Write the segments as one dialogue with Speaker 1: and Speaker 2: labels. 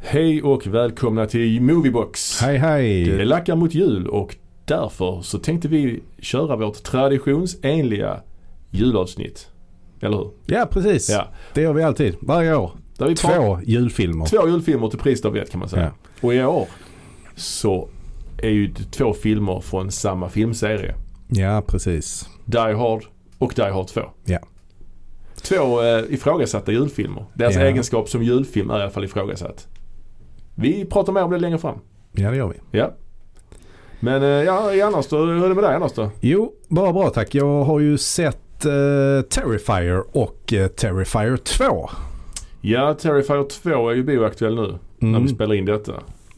Speaker 1: Hej och välkomna till Moviebox.
Speaker 2: Hej hej!
Speaker 1: Det lackar mot jul och därför så tänkte vi köra vårt traditionsenliga julavsnitt. Eller hur?
Speaker 2: Ja precis.
Speaker 1: Ja.
Speaker 2: Det gör vi alltid. Varje år.
Speaker 1: Där vi pratar-
Speaker 2: Två julfilmer.
Speaker 1: två julfilmer till priset av ett kan man säga.
Speaker 2: Ja.
Speaker 1: Och i år så är ju det två filmer från samma filmserie.
Speaker 2: Ja precis.
Speaker 1: Die Hard och Die Hard 2.
Speaker 2: Ja.
Speaker 1: Två eh, ifrågasatta julfilmer. Deras
Speaker 2: Ja.
Speaker 1: egenskap som julfilm är i alla fall ifrågasatt. Vi pratar mer om det längre fram.
Speaker 2: Ja det gör vi.
Speaker 1: Ja. Men eh, ja, i annars då? Hur är det med dig annars då?
Speaker 2: Jo, bara bra tack. Jag har ju sett eh, Terrifier och eh, Terrifier 2.
Speaker 1: Ja, Terrifier 2 är ju bioaktuell nu när vi
Speaker 2: Mm.
Speaker 1: spelar in detta.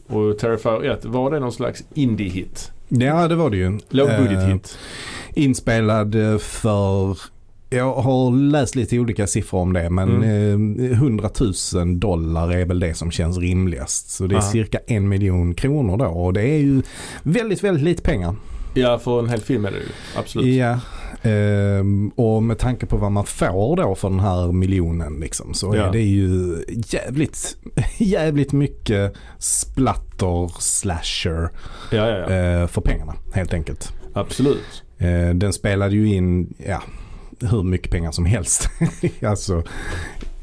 Speaker 1: Och Terrifier 1, var det någon slags indie-hit?
Speaker 2: Ja det var det ju. Eh,
Speaker 1: Lågbudget-hit?
Speaker 2: inspelad eh, för, jag har läst lite olika siffror om det men
Speaker 1: Mm.
Speaker 2: eh, 100 000 dollar är väl det som känns rimligast. Så det är
Speaker 1: Aha.
Speaker 2: cirka en miljon kronor då och det är ju väldigt, väldigt lite pengar.
Speaker 1: Ja, för en hel film är det ju. Absolut.
Speaker 2: Ja, ehm, och med tanke på vad man får då för den här miljonen liksom, så
Speaker 1: Ja.
Speaker 2: är det ju jävligt, jävligt mycket splatter slasher
Speaker 1: Ja, ja, ja.
Speaker 2: eh, för pengarna helt enkelt.
Speaker 1: Absolut.
Speaker 2: Eh, den spelade ju in, ja, hur mycket pengar som helst. alltså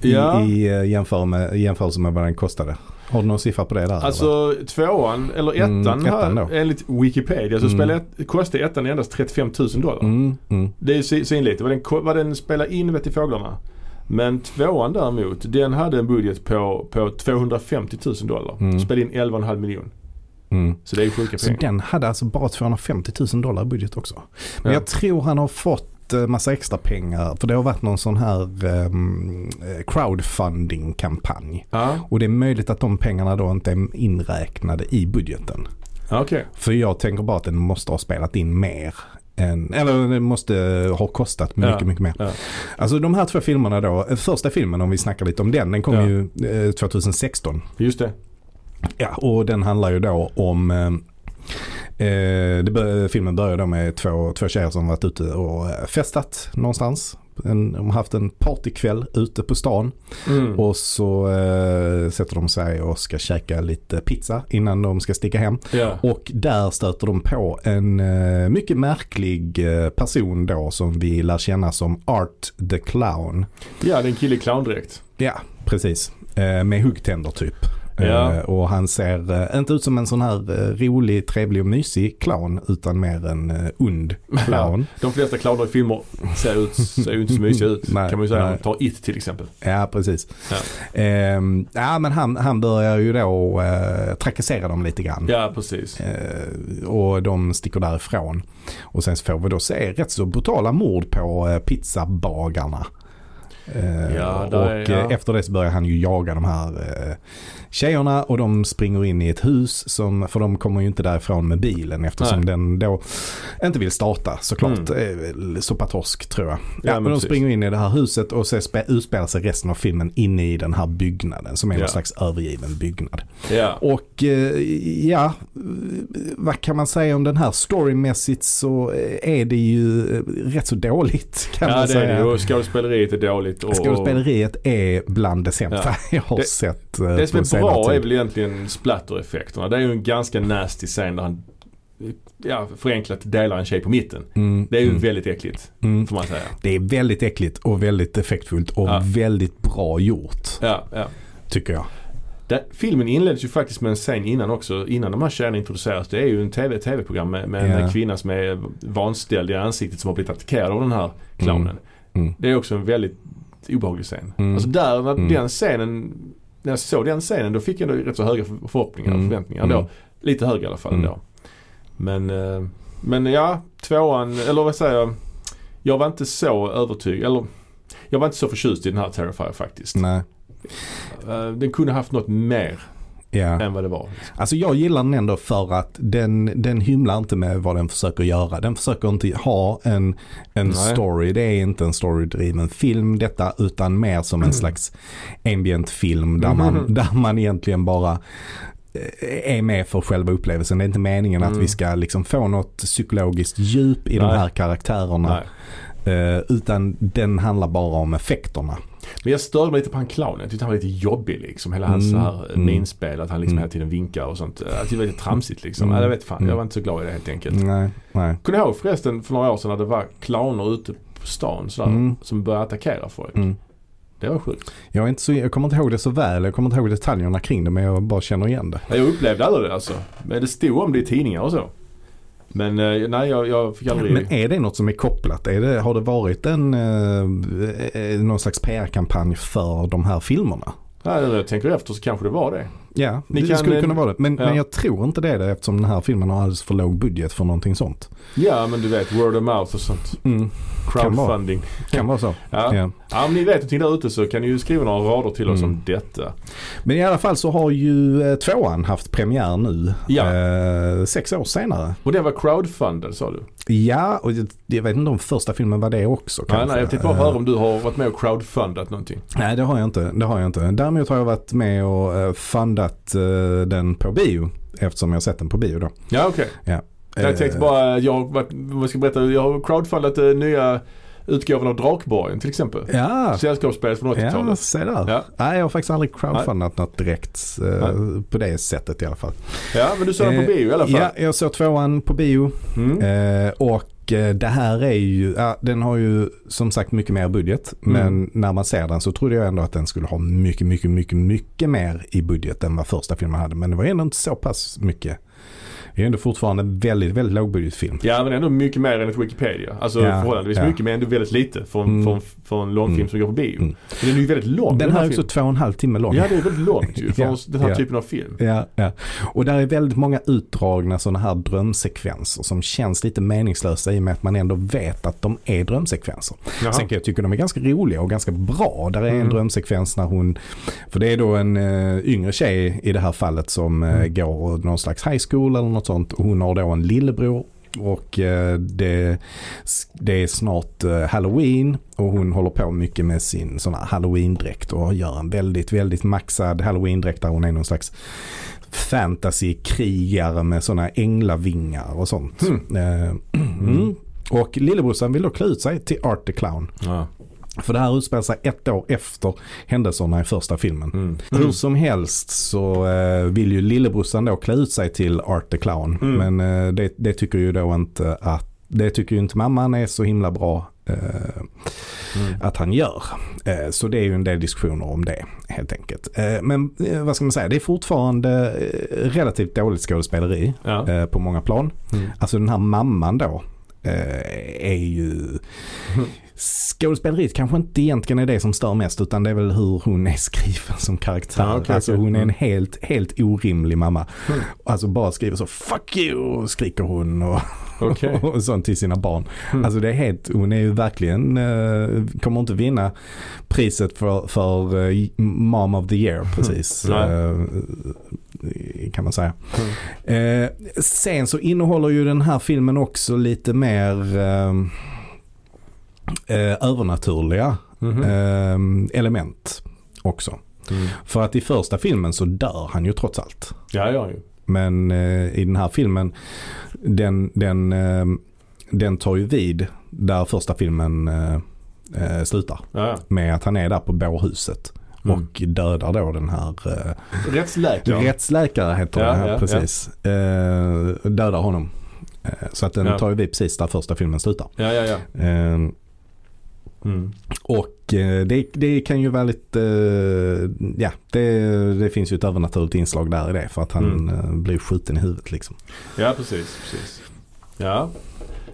Speaker 1: Ja.
Speaker 2: i, i eh, jämför med, jämförelse med vad den kostade. Har du någon siffra på det där? eller?
Speaker 1: Alltså tvåan, eller
Speaker 2: Mm,
Speaker 1: ettan,
Speaker 2: ettan
Speaker 1: här,
Speaker 2: då.
Speaker 1: enligt Wikipedia så
Speaker 2: Mm.
Speaker 1: spelar ett, kostade ettan endast 35 000 dollar.
Speaker 2: Mm, mm.
Speaker 1: Det är ju si- svinlite. Vad den, ko- vad den spelar in vet i fåglarna. Men tvåan däremot, den hade en budget på, på 250 000 dollar.
Speaker 2: Mm.
Speaker 1: Spelade in 11,5 miljon.
Speaker 2: Mm.
Speaker 1: Så det är ju sjuka
Speaker 2: Så
Speaker 1: pengar.
Speaker 2: den hade alltså bara 250 000 dollar i budget också. Men
Speaker 1: Ja.
Speaker 2: jag tror han har fått eh, massa extra pengar för det har varit någon sån här ehm, eh, crowdfunding-kampanj.
Speaker 1: Ja,
Speaker 2: Och det är möjligt att de pengarna då inte är inräknade i budgeten.
Speaker 1: ah, okej.
Speaker 2: För jag tänker bara att den måste ha spelat in mer. Än, eller den måste ha kostat mycket,
Speaker 1: Ja.
Speaker 2: mycket mer.
Speaker 1: Ja.
Speaker 2: Alltså de här två filmerna då. eh, Första filmen om vi snackar lite om den. Den kom
Speaker 1: Ja.
Speaker 2: ju eh, 2016.
Speaker 1: Just det.
Speaker 2: Ja, och den handlar ju då om eh, eh, det bör, filmen börjar då med två, två tjejer som varit ute och eh, festat någonstans. En, de har haft en partykväll ute på stan
Speaker 1: Mm.
Speaker 2: och så eh, sätter de sig och ska käka lite pizza innan de ska sticka hem.
Speaker 1: Ja.
Speaker 2: Och där stöter de på en eh, mycket märklig eh, person då som vi lär känna som Art the Clown.
Speaker 1: ja, det är en kille i clowndräkt.
Speaker 2: Ja, precis. Eh, med huggtänder typ.
Speaker 1: Ja.
Speaker 2: Eh, och han ser eh, inte ut som en sån här eh, rolig, trevlig och mysig clown utan mer en eh, ond clown.
Speaker 1: De flesta clowner i filmer ser, ut, ser ju inte så mysiga ut.
Speaker 2: Nej,
Speaker 1: kan man ju säga.
Speaker 2: nej. Mm.
Speaker 1: Ta It till exempel.
Speaker 2: ja, precis.
Speaker 1: Ja.
Speaker 2: Ehm, ja, men han, han börjar ju då eh, trakassera dem lite grann.
Speaker 1: Ja, precis.
Speaker 2: Eh, och de sticker därifrån. Och sen så får vi då se rätt så brutala mord på eh, pizzabagarna. Eh,
Speaker 1: Ja, där
Speaker 2: och
Speaker 1: är- ja.
Speaker 2: eh, efter det så börjar han ju jaga de här eh, tjejerna och de springer in i ett hus. Som, för de kommer ju inte därifrån med bilen eftersom
Speaker 1: Nej.
Speaker 2: den då inte vill starta såklart. Mm. Sopatorsk tror jag. Ja,
Speaker 1: Ja, men
Speaker 2: men de
Speaker 1: precis.
Speaker 2: springer in i det här huset och så spe- utspelar sig resten av filmen inne i den här byggnaden som är
Speaker 1: Ja.
Speaker 2: någon slags övergiven byggnad.
Speaker 1: Ja.
Speaker 2: Och eh, ja, eh, vad kan man säga om den här? Storymässigt så eh, är det ju eh, rätt så dåligt kan
Speaker 1: Ja
Speaker 2: man
Speaker 1: det är
Speaker 2: säga.
Speaker 1: det ju. Och Skådespeleriet är dåligt. Och,
Speaker 2: Skådespeleriet är bland det sämsta jag har
Speaker 1: Det-
Speaker 2: sett eh,
Speaker 1: Det som
Speaker 2: på
Speaker 1: är
Speaker 2: senare
Speaker 1: bra
Speaker 2: tid.
Speaker 1: är väl egentligen splatter-effekterna. Det är ju en ganska nasty scen där han ja, förenklat delar en tjej på mitten.
Speaker 2: Mm,
Speaker 1: Det är ju
Speaker 2: mm,
Speaker 1: väldigt äckligt
Speaker 2: mm.
Speaker 1: får man säga.
Speaker 2: Det är väldigt äckligt och väldigt effektfullt och
Speaker 1: Ja.
Speaker 2: väldigt bra gjort
Speaker 1: Ja, ja.
Speaker 2: tycker jag.
Speaker 1: Där, filmen inleds ju faktiskt med en scen innan också. Innan de här tjejerna introduceras. Det är ju en TV, tv-program med, med en
Speaker 2: Ja.
Speaker 1: kvinna som är vanställd i ansiktet som har blivit attackerad av den här clownen.
Speaker 2: Mm.
Speaker 1: Det är också en väldigt obehaglig scen.
Speaker 2: Mm.
Speaker 1: Alltså där, när
Speaker 2: Mm.
Speaker 1: den scenen, när jag såg den scenen då fick jag ändå rätt så höga för- förhoppningar och
Speaker 2: Mm.
Speaker 1: förväntningar
Speaker 2: Mm.
Speaker 1: ändå. Lite högre i alla fall
Speaker 2: Mm.
Speaker 1: ändå. Men, eh, men ja, tvåan, eller vad säger jag? Jag var inte så övertygad, eller jag var inte så förtjust i den här Terrifier faktiskt.
Speaker 2: Nej.
Speaker 1: Eh, Den kunde haft något mer
Speaker 2: Ja.
Speaker 1: än vad det var.
Speaker 2: Alltså jag gillar den ändå för att den, den hymlar inte med vad den försöker göra. Den försöker inte ha en, en
Speaker 1: Nej.
Speaker 2: story. Det är inte en storydriven film detta utan mer som en slags ambient film där man,
Speaker 1: Mhm.
Speaker 2: där man egentligen bara eh, är med för själva upplevelsen. Det är inte meningen att
Speaker 1: Mm.
Speaker 2: vi ska liksom få något psykologiskt djup i de
Speaker 1: Nej.
Speaker 2: här karaktärerna.
Speaker 1: Nej.
Speaker 2: Eh, utan den handlar bara om effekterna.
Speaker 1: Men jag störde mig lite på han clownen. Jag tyckte han var lite jobbig liksom. Hela hans
Speaker 2: Mm,
Speaker 1: så här
Speaker 2: mm.
Speaker 1: minspel. Att han liksom
Speaker 2: Mm.
Speaker 1: hela tiden vinkar och sånt. Jag tyckte det var lite tramsigt liksom.
Speaker 2: Mm,
Speaker 1: Ja, jag vet fan. Jag
Speaker 2: mm.
Speaker 1: var inte så glad i det helt enkelt.
Speaker 2: Nej, nej.
Speaker 1: Kommer ihåg förresten för några år sedan när det var clowner ute på stan sådär,
Speaker 2: Mm.
Speaker 1: som började attackera folk.
Speaker 2: Mm.
Speaker 1: Det var sjukt.
Speaker 2: Jag, är inte så, jag kommer inte ihåg det så väl. Jag kommer inte ihåg detaljerna kring det men jag bara känner igen det.
Speaker 1: Ja, Jag upplevde aldrig det alltså. Men det stod om det i tidningar och så. Men eh, nej, jag, jag fick aldrig...
Speaker 2: Men är det något som är kopplat? Är det, har det varit en eh, eh, någon slags PR-kampanj för de här filmerna?
Speaker 1: Nej, när jag tänker efter så kanske det var det.
Speaker 2: Ja,
Speaker 1: Ni
Speaker 2: det
Speaker 1: kan- eh,
Speaker 2: skulle kunna vara det. Men,
Speaker 1: ja.
Speaker 2: men jag tror inte det är det eftersom den här filmen har alldeles för låg budget för någonting sånt.
Speaker 1: Ja, men du vet word of mouth och sånt.
Speaker 2: Mm, Kan vara.
Speaker 1: Crowdfunding.
Speaker 2: kan vara så.
Speaker 1: Ja.
Speaker 2: Ja.
Speaker 1: ja, om ni vet någonting där ute så kan ni ju skriva några rader till oss
Speaker 2: Mm.
Speaker 1: om detta.
Speaker 2: Men i alla fall så har ju eh, tvåan haft premiär nu.
Speaker 1: Ja.
Speaker 2: Eh, sex år senare.
Speaker 1: Och det var crowdfunded sa du?
Speaker 2: Ja, och jag, jag vet inte om första filmen var det också.
Speaker 1: Nej,
Speaker 2: kanske.
Speaker 1: nej, jag tänkte bara
Speaker 2: Eh,
Speaker 1: höra om du har varit med och crowdfundat någonting.
Speaker 2: Nej, det har jag inte. Det har jag inte. Däremot har jag varit med och eh, fundat eh, den på bio. Eftersom jag har sett den på bio då.
Speaker 1: Ja, okej. Jag tänkte
Speaker 2: Eh,
Speaker 1: bara, jag har varit, vad ska jag berätta, jag har crowdfundat eh, nya utgåvan av Drakborgen till exempel.
Speaker 2: Ja,
Speaker 1: Sällskapsspelet från 80-talet.
Speaker 2: ja se där.
Speaker 1: Ja.
Speaker 2: Nej, jag har faktiskt aldrig crowdfundat något direkt eh, på det sättet i alla fall.
Speaker 1: Ja, men du såg den på
Speaker 2: Eh,
Speaker 1: bio i alla fall.
Speaker 2: Ja, jag såg tvåan på bio.
Speaker 1: Mm.
Speaker 2: Eh, och eh, det här är ju, ja, den har ju som sagt mycket mer budget.
Speaker 1: Mm.
Speaker 2: Men när man ser den så trodde jag ändå att den skulle ha mycket, mycket, mycket, mycket mer i budget än vad första filmen hade. Men det var ändå inte så pass mycket. Det är ändå fortfarande en väldigt, väldigt lågbudgetfilm.
Speaker 1: Ja men ändå mycket mer enligt Wikipedia. Alltså
Speaker 2: Ja,
Speaker 1: förhållandevis
Speaker 2: ja.
Speaker 1: mycket men ändå väldigt lite för, en-
Speaker 2: Mm.
Speaker 1: för, en- för en långfilm
Speaker 2: Mm.
Speaker 1: som går på bio.
Speaker 2: Mm.
Speaker 1: Den är ju väldigt lång.
Speaker 2: Den här är också
Speaker 1: filmen.
Speaker 2: två och en halv timme lång.
Speaker 1: Ja det är väldigt långt ju för
Speaker 2: Ja,
Speaker 1: den här
Speaker 2: ja.
Speaker 1: typen av film.
Speaker 2: Ja, ja. Och där är väldigt många utdragna sådana här drömsekvenser som känns lite meningslösa i och med att man ändå vet att de är drömsekvenser.
Speaker 1: Jaha.
Speaker 2: Sen kan jag tycka de är ganska roliga och ganska bra. Där är en
Speaker 1: Mm.
Speaker 2: drömsekvens när hon, för det är då en eh, yngre tjej i det här fallet som eh,
Speaker 1: Mm.
Speaker 2: går någon slags high school eller något sånt. Hon har då en lillebror och eh, det, det är snart eh, halloween och hon håller på mycket med sin sån här halloween-dräkt och gör en väldigt, väldigt maxad halloween-dräkt där hon är någon slags fantasy-krigare med sådana änglavingar och sånt.
Speaker 1: Hmm.
Speaker 2: Eh, mm. Och lillebrorsan vill då klä ut sig till Art the Clown.
Speaker 1: Ja.
Speaker 2: För det här utspelar sig ett år efter händelserna i första filmen.
Speaker 1: Mm.
Speaker 2: Hur som helst så eh, vill ju lillebrorsan då klä ut sig till Art the Clown.
Speaker 1: Mm.
Speaker 2: Men eh, det, det tycker ju då inte att, det tycker ju inte mamman är så himla bra eh,
Speaker 1: Mm.
Speaker 2: att han gör. Eh, så det är ju en del diskussioner om det helt enkelt. Eh, men eh, vad ska man säga, det är fortfarande eh, relativt dåligt skådespeleri
Speaker 1: Ja.
Speaker 2: eh, på många plan.
Speaker 1: Mm.
Speaker 2: Alltså den här mamman då eh, är ju...
Speaker 1: Mm.
Speaker 2: Skådespeleriet kanske inte egentligen är det som stör mest utan det är väl hur hon är skriven som karaktär.
Speaker 1: Ja, okej,
Speaker 2: alltså
Speaker 1: okej.
Speaker 2: hon är en
Speaker 1: Mm.
Speaker 2: helt, helt orimlig mamma.
Speaker 1: Mm.
Speaker 2: Alltså bara skriver så fuck you skriker hon och,
Speaker 1: Okej.
Speaker 2: och sånt till sina barn.
Speaker 1: Mm.
Speaker 2: Alltså det är helt, hon är ju verkligen, eh, kommer inte vinna priset för, för eh, mom of the year precis.
Speaker 1: Nej.
Speaker 2: Eh, kan man säga.
Speaker 1: Mm.
Speaker 2: Eh, sen så innehåller ju den här filmen också lite mer eh, eh, övernaturliga
Speaker 1: Mhm.
Speaker 2: eh, element också.
Speaker 1: Mm.
Speaker 2: För att i första filmen så dör han ju trots allt.
Speaker 1: Ja ja ju.
Speaker 2: Men eh, i den här filmen, den, den, eh, den tar ju vid där första filmen eh, eh, slutar.
Speaker 1: Ja, ja.
Speaker 2: Med att han är där på bårhuset
Speaker 1: Mm.
Speaker 2: och dödar då den här eh,
Speaker 1: Rättsläkaren.
Speaker 2: Rättsläkare heter
Speaker 1: Ja,
Speaker 2: det här,
Speaker 1: ja,
Speaker 2: precis. Eh, dödar honom. Eh, så att den
Speaker 1: Ja.
Speaker 2: tar ju vid precis där första filmen slutar.
Speaker 1: Ja ja ja.
Speaker 2: Eh,
Speaker 1: Mm.
Speaker 2: och eh, det, det kan ju vara lite, eh, ja det, det finns ju ett övernaturligt inslag där i det. För att han
Speaker 1: Mm.
Speaker 2: eh, blir skjuten i huvudet liksom.
Speaker 1: Ja precis. precis. Ja.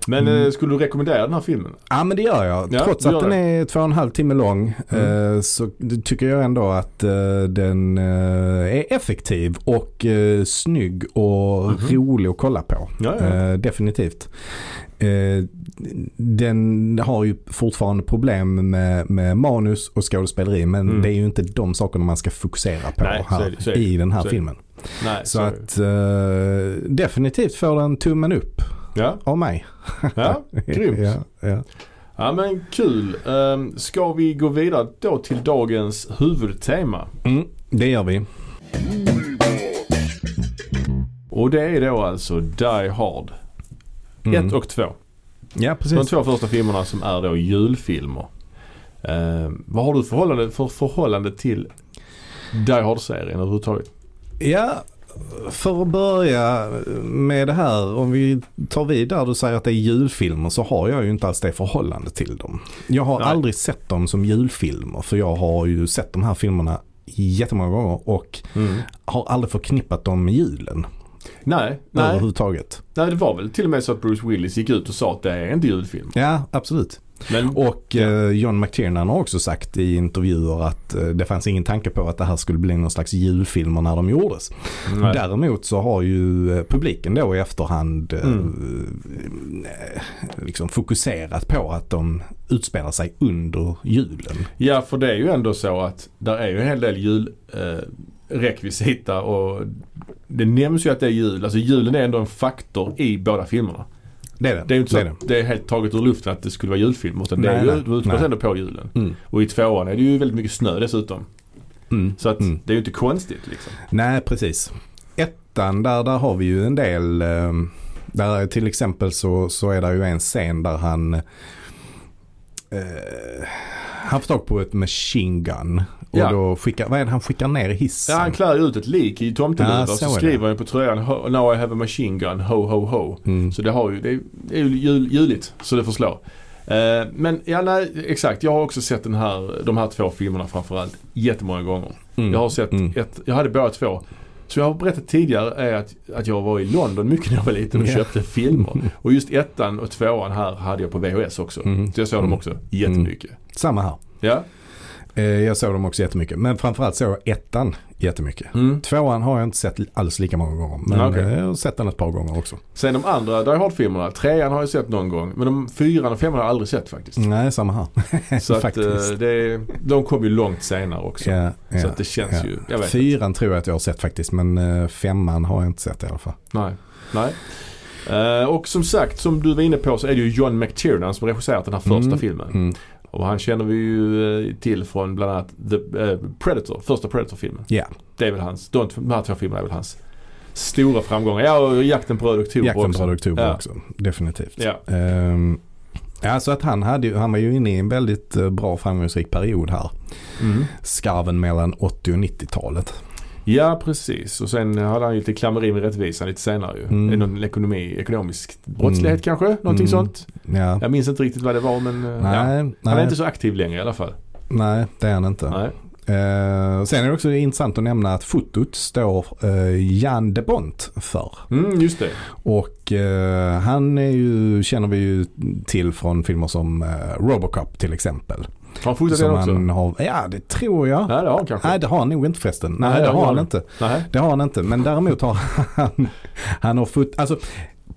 Speaker 1: Men
Speaker 2: Mm.
Speaker 1: eh, skulle du rekommendera den här filmen?
Speaker 2: Ja men det gör jag.
Speaker 1: Ja,
Speaker 2: Trots
Speaker 1: du
Speaker 2: att
Speaker 1: gör
Speaker 2: den
Speaker 1: det.
Speaker 2: är två och en halv timme lång
Speaker 1: Mm.
Speaker 2: eh, så tycker jag ändå att eh, den eh, är effektiv och eh, snygg och
Speaker 1: Mhm.
Speaker 2: rolig att kolla på.
Speaker 1: Ja ja.
Speaker 2: Eh, definitivt. Eh, den har ju fortfarande problem med, med manus och skådespeleri men
Speaker 1: Mm.
Speaker 2: det är ju inte de sakerna man ska fokusera på
Speaker 1: Nej, så är
Speaker 2: här,
Speaker 1: det, så är det,
Speaker 2: i den här
Speaker 1: så är det.
Speaker 2: filmen.
Speaker 1: Nej.
Speaker 2: Så
Speaker 1: sorry.
Speaker 2: att eh, definitivt får den tummen upp
Speaker 1: Ja.
Speaker 2: av mig.
Speaker 1: Ja. Grymt.
Speaker 2: ja, ja.
Speaker 1: Ja men kul. Ehm, ska vi gå vidare då till dagens huvudtema?
Speaker 2: Mm, det gör vi.
Speaker 1: Och det är då alltså Die Hard 1
Speaker 2: Mm.
Speaker 1: och 2.
Speaker 2: Ja,
Speaker 1: De
Speaker 2: precis.
Speaker 1: två första filmerna som är då julfilmer. Eh, vad har du förhållande, för förhållande till Die Hard-serien överhuvudtaget?
Speaker 2: Ja, för att börja med det här. Om vi tar vid där du säger att det är julfilmer så har jag ju inte alls det förhållande till dem. Jag har
Speaker 1: Nej.
Speaker 2: aldrig sett dem som julfilmer för jag har ju sett de här filmerna jättemånga gånger och har aldrig förknippat dem med julen
Speaker 1: Nej, nej,
Speaker 2: överhuvudtaget.
Speaker 1: nej, det var väl till och med så att Bruce Willis gick ut och sa att det är inte julfilm.
Speaker 2: Ja, absolut.
Speaker 1: Men
Speaker 2: Och eh, John McTiernan har också sagt i intervjuer att eh, det fanns ingen tanke på att det här skulle bli någon slags julfilmer när de gjordes.
Speaker 1: nej.
Speaker 2: Däremot så har ju eh, publiken då i efterhand eh,
Speaker 1: Mm.
Speaker 2: eh, liksom fokuserat på att de utspelar sig under julen.
Speaker 1: Ja, för det är ju ändå så att där är ju en hel del julrekvisita eh, rekvisita och det nämns ju att det är jul. Alltså julen är ändå en faktor i båda filmerna.
Speaker 2: Det är det.
Speaker 1: Det är ju inte så
Speaker 2: det.
Speaker 1: att det är helt taget ur luften att det skulle vara julfilm. Utan det
Speaker 2: Nej,
Speaker 1: är ju
Speaker 2: nej,
Speaker 1: de utspelar sig
Speaker 2: nej.
Speaker 1: ändå på julen.
Speaker 2: Mm.
Speaker 1: Och i tvåan är det ju väldigt mycket snö dessutom.
Speaker 2: Mm.
Speaker 1: Så att
Speaker 2: Mm.
Speaker 1: det är ju inte konstigt liksom.
Speaker 2: Nej, precis. Ettan, där, där har vi ju en del. eh, Där är till exempel så, så är det ju en scen där han eh, han får tag på ett machine gun. Och
Speaker 1: Ja.
Speaker 2: då skickar, vad är det han skickar ner i
Speaker 1: Ja, han
Speaker 2: hissen?
Speaker 1: klär ju ut ett lik i tomteluva
Speaker 2: Ja,
Speaker 1: och så
Speaker 2: så är det.
Speaker 1: skriver han ju på tröjan "Ho- Now I have a machine gun, ho ho ho.
Speaker 2: Mm.
Speaker 1: Så det, har ju, det, är, det är ju jul, juligt så det förslår. Eh, men ja, nej, exakt. Jag har också sett den här, de här två filmerna framförallt jättemånga gånger.
Speaker 2: Mm.
Speaker 1: Jag har sett
Speaker 2: Mm.
Speaker 1: ett, jag hade båda två. Så jag har berättat tidigare är att, att jag var i London mycket när jag var liten och
Speaker 2: Ja.
Speaker 1: köpte filmer. Och just ettan och tvåan här hade jag på VHS också.
Speaker 2: Mm.
Speaker 1: Så jag såg dem
Speaker 2: Mm.
Speaker 1: också jättemycket.
Speaker 2: Samma här.
Speaker 1: Ja.
Speaker 2: Eh, Jag såg dem också jättemycket. Men framförallt såg jag ettan jättemycket.
Speaker 1: Mm.
Speaker 2: Tvåan har jag inte sett alls lika många gånger. Men
Speaker 1: Ja, Ah, okej.
Speaker 2: eh, jag har sett den ett par gånger också.
Speaker 1: Sen de andra Die Hard-filmerna, trean har jag sett någon gång. Men de fyran och femman har jag aldrig sett faktiskt.
Speaker 2: Nej, samma här.
Speaker 1: Så att, eh,
Speaker 2: Faktiskt.
Speaker 1: det, de kom ju långt senare också.
Speaker 2: Ja,
Speaker 1: Så
Speaker 2: ja,
Speaker 1: att det känns
Speaker 2: ja.
Speaker 1: ju, jag vet
Speaker 2: Fyran tror jag att jag har sett faktiskt men eh, femman har jag inte sett i alla fall.
Speaker 1: Nej. Nej. Eh, och som sagt, som du var inne på så är det ju John McTiernan som regisserat den här första
Speaker 2: Mm.
Speaker 1: filmen.
Speaker 2: Mm.
Speaker 1: Och han känner vi ju eh, till från bland annat The eh, Predator, första Predator-filmen.
Speaker 2: Ja.
Speaker 1: Det är väl hans, de, de här två filmerna är väl hans stora framgångar. Ja, och Jakten på Röd Oktober
Speaker 2: Jakten
Speaker 1: också.
Speaker 2: på Röd oktober
Speaker 1: Ja.
Speaker 2: också. Definitivt.
Speaker 1: Ja.
Speaker 2: Ehm, ja, så att han, hade, ju- han var ju inne i en väldigt eh, bra framgångsrik period här.
Speaker 1: Mm.
Speaker 2: Skarven mellan 80 och 90-talet.
Speaker 1: ja, precis. Och sen hade han ju lite klammeri med rättvisan lite senare ju.
Speaker 2: Mm.
Speaker 1: Mm. Någon ekonomi, ekonomisk brottslighet kanske? Någonting
Speaker 2: Mm.
Speaker 1: sånt.
Speaker 2: Ja.
Speaker 1: Jag minns inte riktigt vad det var men eh, ja.
Speaker 2: Nej,
Speaker 1: han är
Speaker 2: nej,
Speaker 1: inte så aktiv längre i alla fall.
Speaker 2: nej, det är han inte.
Speaker 1: Nej.
Speaker 2: Eh, sen är det också intressant att nämna att fotot står eh, Jan de Bont för.
Speaker 1: Mm, just det.
Speaker 2: Och eh, han är ju, känner vi ju till från filmer som eh, Robocop till exempel.
Speaker 1: Har han fotat den
Speaker 2: Som Ah,
Speaker 1: också?
Speaker 2: han har, ja det tror jag.
Speaker 1: Nej, det har han kanske.
Speaker 2: Nej det har han nog inte förresten. Nej, det har han inte.
Speaker 1: Nej.
Speaker 2: Det har han inte. Men däremot har han, han har fått, alltså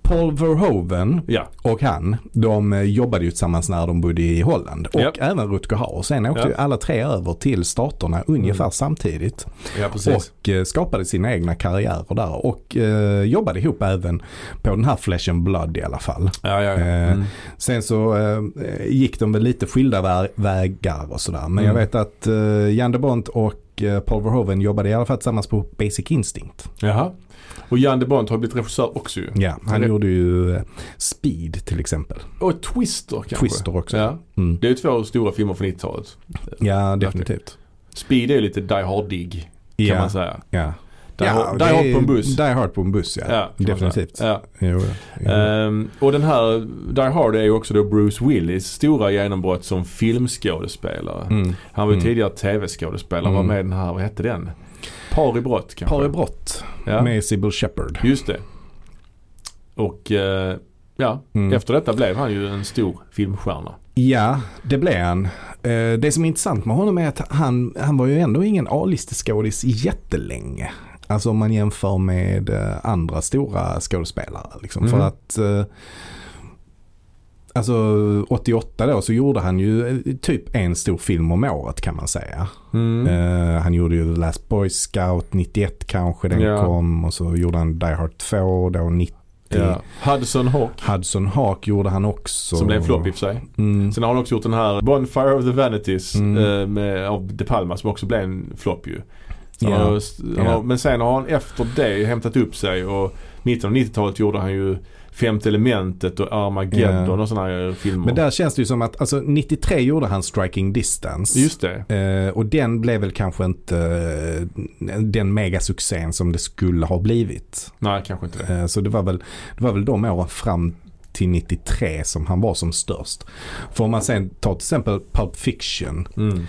Speaker 2: Paul Verhoeven
Speaker 1: Ja.
Speaker 2: och han, de eh, jobbade ju tillsammans när de bodde i Holland. Och
Speaker 1: Japp.
Speaker 2: även Rutger Hauer. Sen åkte
Speaker 1: Ja.
Speaker 2: ju alla tre över till staterna ungefär samtidigt.
Speaker 1: ja, precis.
Speaker 2: Och eh, skapade sina egna karriärer där. Och eh, jobbade ihop även på den här Flesh and Blood i alla fall.
Speaker 1: ja, ja, ja.
Speaker 2: Eh,
Speaker 1: Mm.
Speaker 2: Sen så eh, gick de väl lite skilda vä- vägar och sådär.
Speaker 1: Mm.
Speaker 2: Men jag vet att eh, Jan de Bont och eh, Paul Verhoeven jobbade i alla fall tillsammans på Basic Instinct.
Speaker 1: Jaha. Och Jan de Bont har blivit regissör också ju.
Speaker 2: Ja, han
Speaker 1: Det-
Speaker 2: gjorde ju eh, Speed till exempel.
Speaker 1: Och Twister kanske.
Speaker 2: Twister också.
Speaker 1: Ja.
Speaker 2: Mm.
Speaker 1: Det är ju två stora filmer från 90-talet.
Speaker 2: Ja, definitivt.
Speaker 1: Speed är ju lite Die Hard-dig kan man
Speaker 2: Ja,
Speaker 1: säga.
Speaker 2: ja.
Speaker 1: Die,
Speaker 2: Ja,
Speaker 1: hard,
Speaker 2: det
Speaker 1: die hard
Speaker 2: är-
Speaker 1: på en buss.
Speaker 2: Die Hard på en buss, ja.
Speaker 1: Ja, kan man säga.
Speaker 2: definitivt.
Speaker 1: Ja.
Speaker 2: Jo, jo.
Speaker 1: Ehm, och den här Die Hard är ju också då Bruce Willis stora genombrott som filmskådespelare.
Speaker 2: Mm.
Speaker 1: Han var ju
Speaker 2: Mm.
Speaker 1: tidigare tv-skådespelare. Var
Speaker 2: Mm.
Speaker 1: med i den här, vad hette den? Par i brott kanske?
Speaker 2: Par i brott Mm.
Speaker 1: Ja.
Speaker 2: med Sybil Shepard.
Speaker 1: Just det. Och eh, ja,
Speaker 2: Mm.
Speaker 1: efter detta blev han ju en stor filmstjärna.
Speaker 2: Ja, det blev han. Eh, Det som är intressant med honom är att han, han var ju ändå ingen A-listeskådis jättelänge. Alltså om man jämför med eh, andra stora skådespelare. Liksom.
Speaker 1: Mm.
Speaker 2: För att eh, Alltså 88 då så gjorde han ju eh, typ en stor film om året kan man säga.
Speaker 1: Mm.
Speaker 2: Eh, han gjorde ju The Last Boy Scout 91 kanske den
Speaker 1: Ja.
Speaker 2: kom och så gjorde han Die Hard 2 då 90.
Speaker 1: Ja. Hudson Hawk,
Speaker 2: Hudson Hawk gjorde han också.
Speaker 1: som blev en flopp i och för sig.
Speaker 2: Mm.
Speaker 1: Sen har han också gjort den här Bonfire of the Vanities
Speaker 2: Mm.
Speaker 1: eh, med, av De Palma som också blev en flopp ju. Han
Speaker 2: Ja.
Speaker 1: har, s- han
Speaker 2: Ja.
Speaker 1: har, men sen har han efter det hämtat upp sig och 1990-talet gjorde han ju Femte elementet och Armageddon
Speaker 2: Ja.
Speaker 1: och sådana här eh, filmer.
Speaker 2: Men där känns det ju som att, alltså 93 gjorde han Striking Distance.
Speaker 1: Just det.
Speaker 2: Eh, och den blev väl kanske inte eh, den megasuccén som det skulle ha blivit.
Speaker 1: Nej, kanske inte det.
Speaker 2: Eh, så det var, väl, det var väl de åren fram till 93 som han var som störst. För om man sen tar till exempel Pulp Fiction.
Speaker 1: Mm.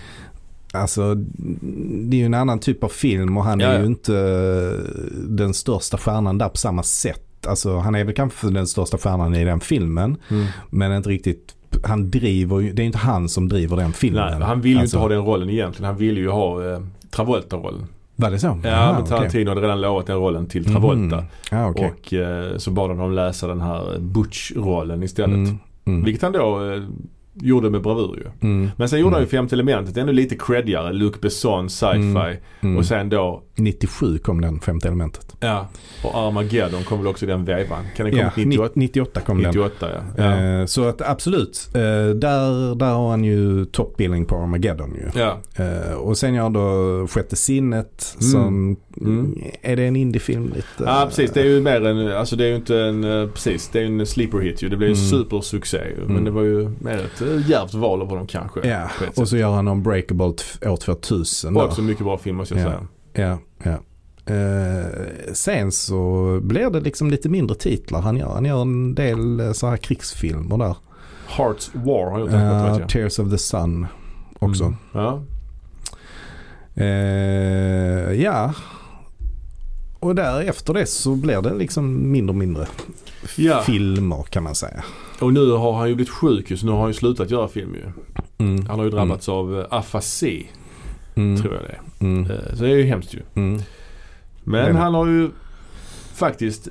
Speaker 2: Alltså det är ju en annan typ av film och han
Speaker 1: Ja,
Speaker 2: är
Speaker 1: ja.
Speaker 2: ju inte eh, den största stjärnan där på samma sätt. Alltså han är väl kanske den största stjärnan i den filmen.
Speaker 1: Mm.
Speaker 2: Men inte riktigt, han driver ju, det är inte han som driver den filmen.
Speaker 1: Nej, han vill ju
Speaker 2: Alltså,
Speaker 1: inte ha den rollen egentligen. Han vill ju ha eh, Travolta-rollen.
Speaker 2: Var det så?
Speaker 1: Ja,
Speaker 2: Aha,
Speaker 1: men Tarantino hade redan lovat den rollen till Travolta.
Speaker 2: Mhm. Ja, okej.
Speaker 1: Och eh, så bad han honom läsa den här Butch-rollen istället.
Speaker 2: Mm, mm,
Speaker 1: Vilket han då eh, gjorde med bravur ju.
Speaker 2: mm,
Speaker 1: Men sen gjorde han ju Femte elementet, ännu lite creddigare. Luc Besson, sci-fi.
Speaker 2: mm.
Speaker 1: Och sen då,
Speaker 2: 97 kom den, femte elementet.
Speaker 1: ja, och Armageddon kom väl också i den vevan. Kan den
Speaker 2: Ja,
Speaker 1: komma
Speaker 2: 98,
Speaker 1: 98?
Speaker 2: 98 kom den.
Speaker 1: 98 ja. Ja.
Speaker 2: Eh, Så att absolut, eh, där, där har han ju toppbildning på Armageddon ju.
Speaker 1: ja.
Speaker 2: Eh, Och sen jag då Sjätte sinnet
Speaker 1: Mm.
Speaker 2: som,
Speaker 1: Mm.
Speaker 2: är det en indiefilm lite?
Speaker 1: Ja precis, det är ju mer en, alltså det är ju inte en, eh, precis, det är en sleeper hit ju. Det blev en
Speaker 2: Mm.
Speaker 1: supersuccé ju. Men
Speaker 2: Mm.
Speaker 1: det var ju mer ett eh, djärvt val av honom kanske.
Speaker 2: Ja,
Speaker 1: på ett sätt.
Speaker 2: och så gör han Unbreakable t- år 2000.
Speaker 1: Och
Speaker 2: där.
Speaker 1: också mycket bra film måste jag
Speaker 2: Ja.
Speaker 1: säga.
Speaker 2: Ja, ja. Eh, sen så blir det liksom lite mindre titlar han gör. Han gör en del eh, så här krigsfilmer där.
Speaker 1: Hearts War har jag gjort en
Speaker 2: Eh,
Speaker 1: uh, vet jag.
Speaker 2: Tears of the Sun typ också.
Speaker 1: Mm. Ja.
Speaker 2: Eh, ja. Och därefter det så blir det liksom mindre och mindre
Speaker 1: ja.
Speaker 2: filmer kan man säga.
Speaker 1: Och nu har han ju blivit sjuk ju, så nu har han ju slutat göra film ju.
Speaker 2: Mm.
Speaker 1: Han har ju drabbats av eh, afasi,
Speaker 2: Mm.
Speaker 1: tror jag det är.
Speaker 2: Mm.
Speaker 1: Eh, Så det är ju hemskt ju.
Speaker 2: Mm.
Speaker 1: Men
Speaker 2: Men-
Speaker 1: han har ju faktiskt,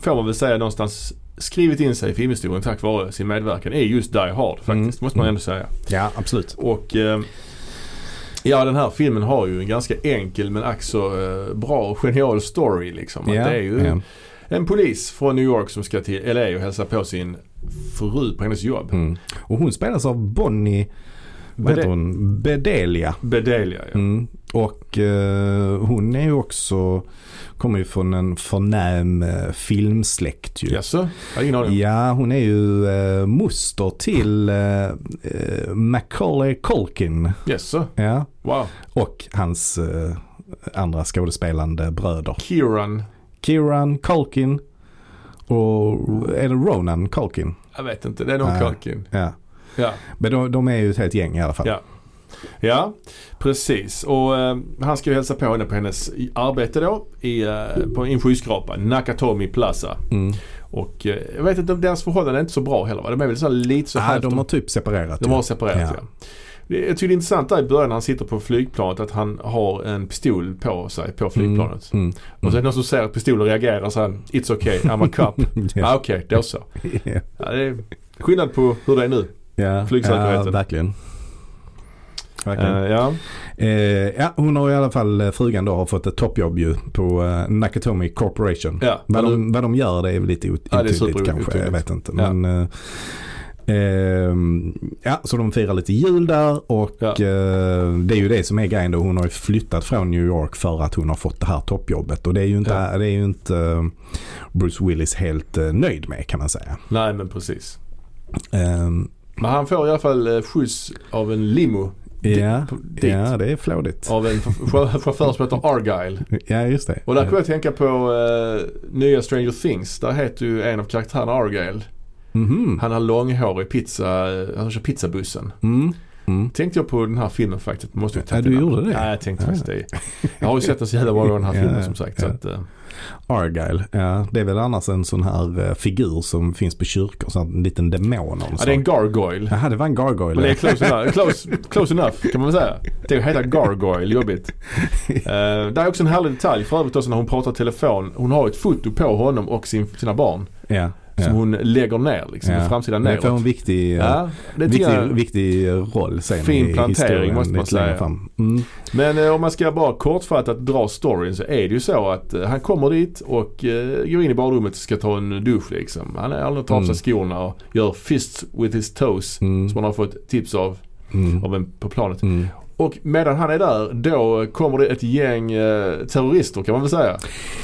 Speaker 1: får man väl säga någonstans, skrivit in sig i filmhistorien tack vare sin medverkan i just Die Hard faktiskt.
Speaker 2: Mm.
Speaker 1: Måste man
Speaker 2: Mm.
Speaker 1: ändå säga.
Speaker 2: Ja, absolut.
Speaker 1: Och eh, ja, den här filmen har ju en ganska enkel men ack så eh, bra och genial story liksom. Att
Speaker 2: Ja,
Speaker 1: Det är ju
Speaker 2: ja.
Speaker 1: en polis från New York som ska till LA och hälsa på sin fru på hennes jobb.
Speaker 2: Mm. Och hon spelas av Bonnie vad heter
Speaker 1: Bede-
Speaker 2: hon? Bedelia.
Speaker 1: Bedelia ja.
Speaker 2: Mm. Och eh, hon är ju också, kommer ju från en förnäm eh, filmsläkt ju.
Speaker 1: Jaså? Jag har ingen aning.
Speaker 2: Ja, hon är ju eh, moster till eh, eh, Macaulay Culkin.
Speaker 1: Jaså?
Speaker 2: Ja.
Speaker 1: Wow.
Speaker 2: Och hans eh, andra skådespelande bröder.
Speaker 1: Kieran.
Speaker 2: Kieran Culkin och är det Ronan Culkin?
Speaker 1: Jag vet inte. Det är nog
Speaker 2: Nej.
Speaker 1: Kalkin.
Speaker 2: Ja.
Speaker 1: Ja.
Speaker 2: Men de, de är ju ett helt gäng i alla fall.
Speaker 1: Ja. Ja, precis. Och eh, han ska ju hälsa på henne på hennes i- arbete då i, eh, på, i en skyskrapa, Nakatomi Plaza.
Speaker 2: Mm.
Speaker 1: Och eh, jag vet inte, deras förhållande är inte så bra heller va? De är väl så här, lite så
Speaker 2: Ah,
Speaker 1: halvt-
Speaker 2: de har typ separerat.
Speaker 1: de
Speaker 2: ju.
Speaker 1: har separerat ja. Det- Jag tycker det är intressant där i början när han sitter på flygplanet att han har en pistol på sig på flygplanet.
Speaker 2: Mm.
Speaker 1: Och så är det någon som ser att pistolen reagerar så han It's okay, I'm a cop.
Speaker 2: Mm. Ja.
Speaker 1: ah, Okej, då så. Ja, det är skillnad på hur det är nu.
Speaker 2: Ja.
Speaker 1: Flygsäkerheten.
Speaker 2: Ja, verkligen. verkligen.
Speaker 1: Eh, ja.
Speaker 2: Eh, ja, hon har i alla fall, eh, frugan då, har fått ett toppjobb ju på eh, Nakatomi Corporation.
Speaker 1: Ja,
Speaker 2: Vad
Speaker 1: men
Speaker 2: de, vad de gör det är väl lite ot-
Speaker 1: Ja, det är
Speaker 2: otydligt
Speaker 1: super-
Speaker 2: kanske. Jag
Speaker 1: otydligt.
Speaker 2: vet inte.
Speaker 1: Ja.
Speaker 2: Men, eh, ehm, ja, så de firar lite jul där och
Speaker 1: Ja.
Speaker 2: eh, det är ju det som är grejen då. Hon har ju flyttat från New York för att hon har fått det här toppjobbet. Och det är ju inte, det är ju inte eh, Bruce Willis helt eh, nöjd med kan man säga.
Speaker 1: Nej men precis.
Speaker 2: Ehm,
Speaker 1: Men han får i alla fall eh, skjuts av en limo. Di-
Speaker 2: ja,
Speaker 1: på- dit.
Speaker 2: ja, det är flådigt.
Speaker 1: Av en f- chau- chaufför som heter Argyle.
Speaker 2: Ja, just det.
Speaker 1: Och där kommer jag att tänka på eh, nya Stranger Things. Där heter ju en av karaktärerna Argyle.
Speaker 2: Mhm.
Speaker 1: Han har långhårig pizza, eh, han kör pizzabussen.
Speaker 2: Mm. Mm.
Speaker 1: Tänkte jag på den här filmen faktiskt. Måste jag
Speaker 2: Ja,
Speaker 1: tänka
Speaker 2: du
Speaker 1: innan.
Speaker 2: gjorde det?
Speaker 1: Ja, jag tänkte
Speaker 2: Ja.
Speaker 1: faktiskt det. Jag har ju sett den så jävla många gånger den här
Speaker 2: Ja,
Speaker 1: filmen som sagt. Så
Speaker 2: ja.
Speaker 1: att, eh,
Speaker 2: Argyle, ja, det är väl annars en sån här eh, figur som finns på kyrkor, så en liten demon eller
Speaker 1: ja,
Speaker 2: så.
Speaker 1: det är en gargoyle.
Speaker 2: Jaha, det var en
Speaker 1: Men
Speaker 2: gargoyle.
Speaker 1: det är close enough, close, close enough kan man väl säga. Det är heta Gargoyle, jobbigt. Uh, där är också en härlig detalj för övrigt också när hon pratar telefon. Hon har ett foto på honom och sin, sina barn.
Speaker 2: ja, ja.
Speaker 1: Som hon lägger ner liksom,
Speaker 2: ja.
Speaker 1: i framsidan
Speaker 2: Det får en
Speaker 1: neråt.
Speaker 2: viktig, eh,
Speaker 1: Ja, det
Speaker 2: viktig,
Speaker 1: tycker jag.
Speaker 2: viktig roll sen
Speaker 1: Fin
Speaker 2: i
Speaker 1: plantering,
Speaker 2: historien
Speaker 1: måste man
Speaker 2: lite längre
Speaker 1: säga.
Speaker 2: Fram. Mm.
Speaker 1: Men eh, om man ska bara kortfattat dra storyn så är det ju så att eh, han kommer dit och eh, går in i badrummet och ska ta en dusch liksom. Han är aldrig tar av sig
Speaker 2: Mm.
Speaker 1: skorna och gör fists with his toes.
Speaker 2: Mm.
Speaker 1: Som han har fått tips av,
Speaker 2: Mm.
Speaker 1: av en på planet.
Speaker 2: Mm.
Speaker 1: Och medan han är där, då kommer det ett gäng eh, terrorister kan man väl säga.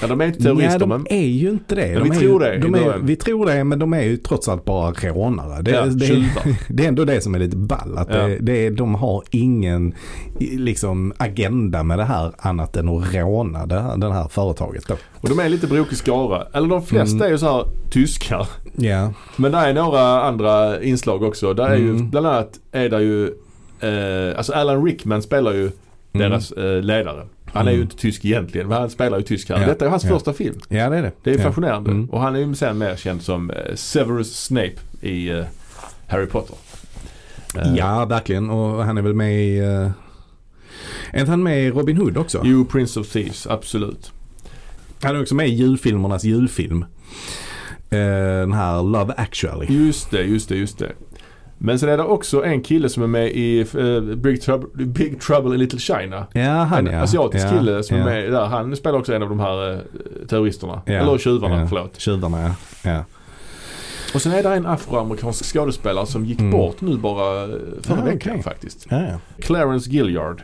Speaker 1: Ja, de är inte terrorister
Speaker 2: Nej, de
Speaker 1: men...
Speaker 2: är ju inte det.
Speaker 1: Men
Speaker 2: de
Speaker 1: vi
Speaker 2: är
Speaker 1: tror
Speaker 2: ju,
Speaker 1: det i
Speaker 2: De är,
Speaker 1: början.
Speaker 2: vi tror det, men de är ju trots allt bara rånare. Det,
Speaker 1: Ja,
Speaker 2: det, är,
Speaker 1: tjuvar.
Speaker 2: det är ändå det som är lite ball. Att
Speaker 1: Ja.
Speaker 2: det, det är, de har ingen i- liksom, agenda med det här annat än att råna det här, det här företaget. Då.
Speaker 1: Och de är lite brokig skara. Eller de flesta
Speaker 2: Mm.
Speaker 1: är ju så här tyskar.
Speaker 2: Ja.
Speaker 1: Men där är några andra inslag också. Där är ju
Speaker 2: Mm.
Speaker 1: bland annat är där ju, eh, alltså Alan Rickman spelar ju deras eh, ledare. Han är ju
Speaker 2: Mm.
Speaker 1: inte tysk egentligen men han spelar ju tysk här.
Speaker 2: Ja,
Speaker 1: Detta är hans
Speaker 2: ja.
Speaker 1: första film.
Speaker 2: ja, det är det.
Speaker 1: Det är
Speaker 2: ja.
Speaker 1: fascinerande.
Speaker 2: Mm.
Speaker 1: Och han är ju sen mer känd som eh, Severus Snape i eh, Harry Potter. Eh,
Speaker 2: Ja, verkligen. Och han är väl med i... eh, Är inte han med i Robin Hood också?
Speaker 1: Jo, Prince of Thieves, absolut.
Speaker 2: Han är också med i julfilmernas julfilm. Eh, Den här Love actually.
Speaker 1: Just det, just det, just det. Men sen är det också en kille som är med i eh, Big, Trouble, Big Trouble in Little China.
Speaker 2: Ja, han
Speaker 1: en
Speaker 2: ja.
Speaker 1: asiatisk
Speaker 2: ja,
Speaker 1: kille som
Speaker 2: ja.
Speaker 1: är med där. Han spelar också en av de här eh, terroristerna.
Speaker 2: Ja,
Speaker 1: Eller tjuvarna,
Speaker 2: ja.
Speaker 1: förlåt.
Speaker 2: Tjuvarna ja. ja.
Speaker 1: Och sen är det en afroamerikansk skådespelare som gick
Speaker 2: Mm.
Speaker 1: bort nu bara eh, förra
Speaker 2: Ah,
Speaker 1: veckan
Speaker 2: okej.
Speaker 1: faktiskt.
Speaker 2: Ja, ja.
Speaker 1: Clarence Gilliard.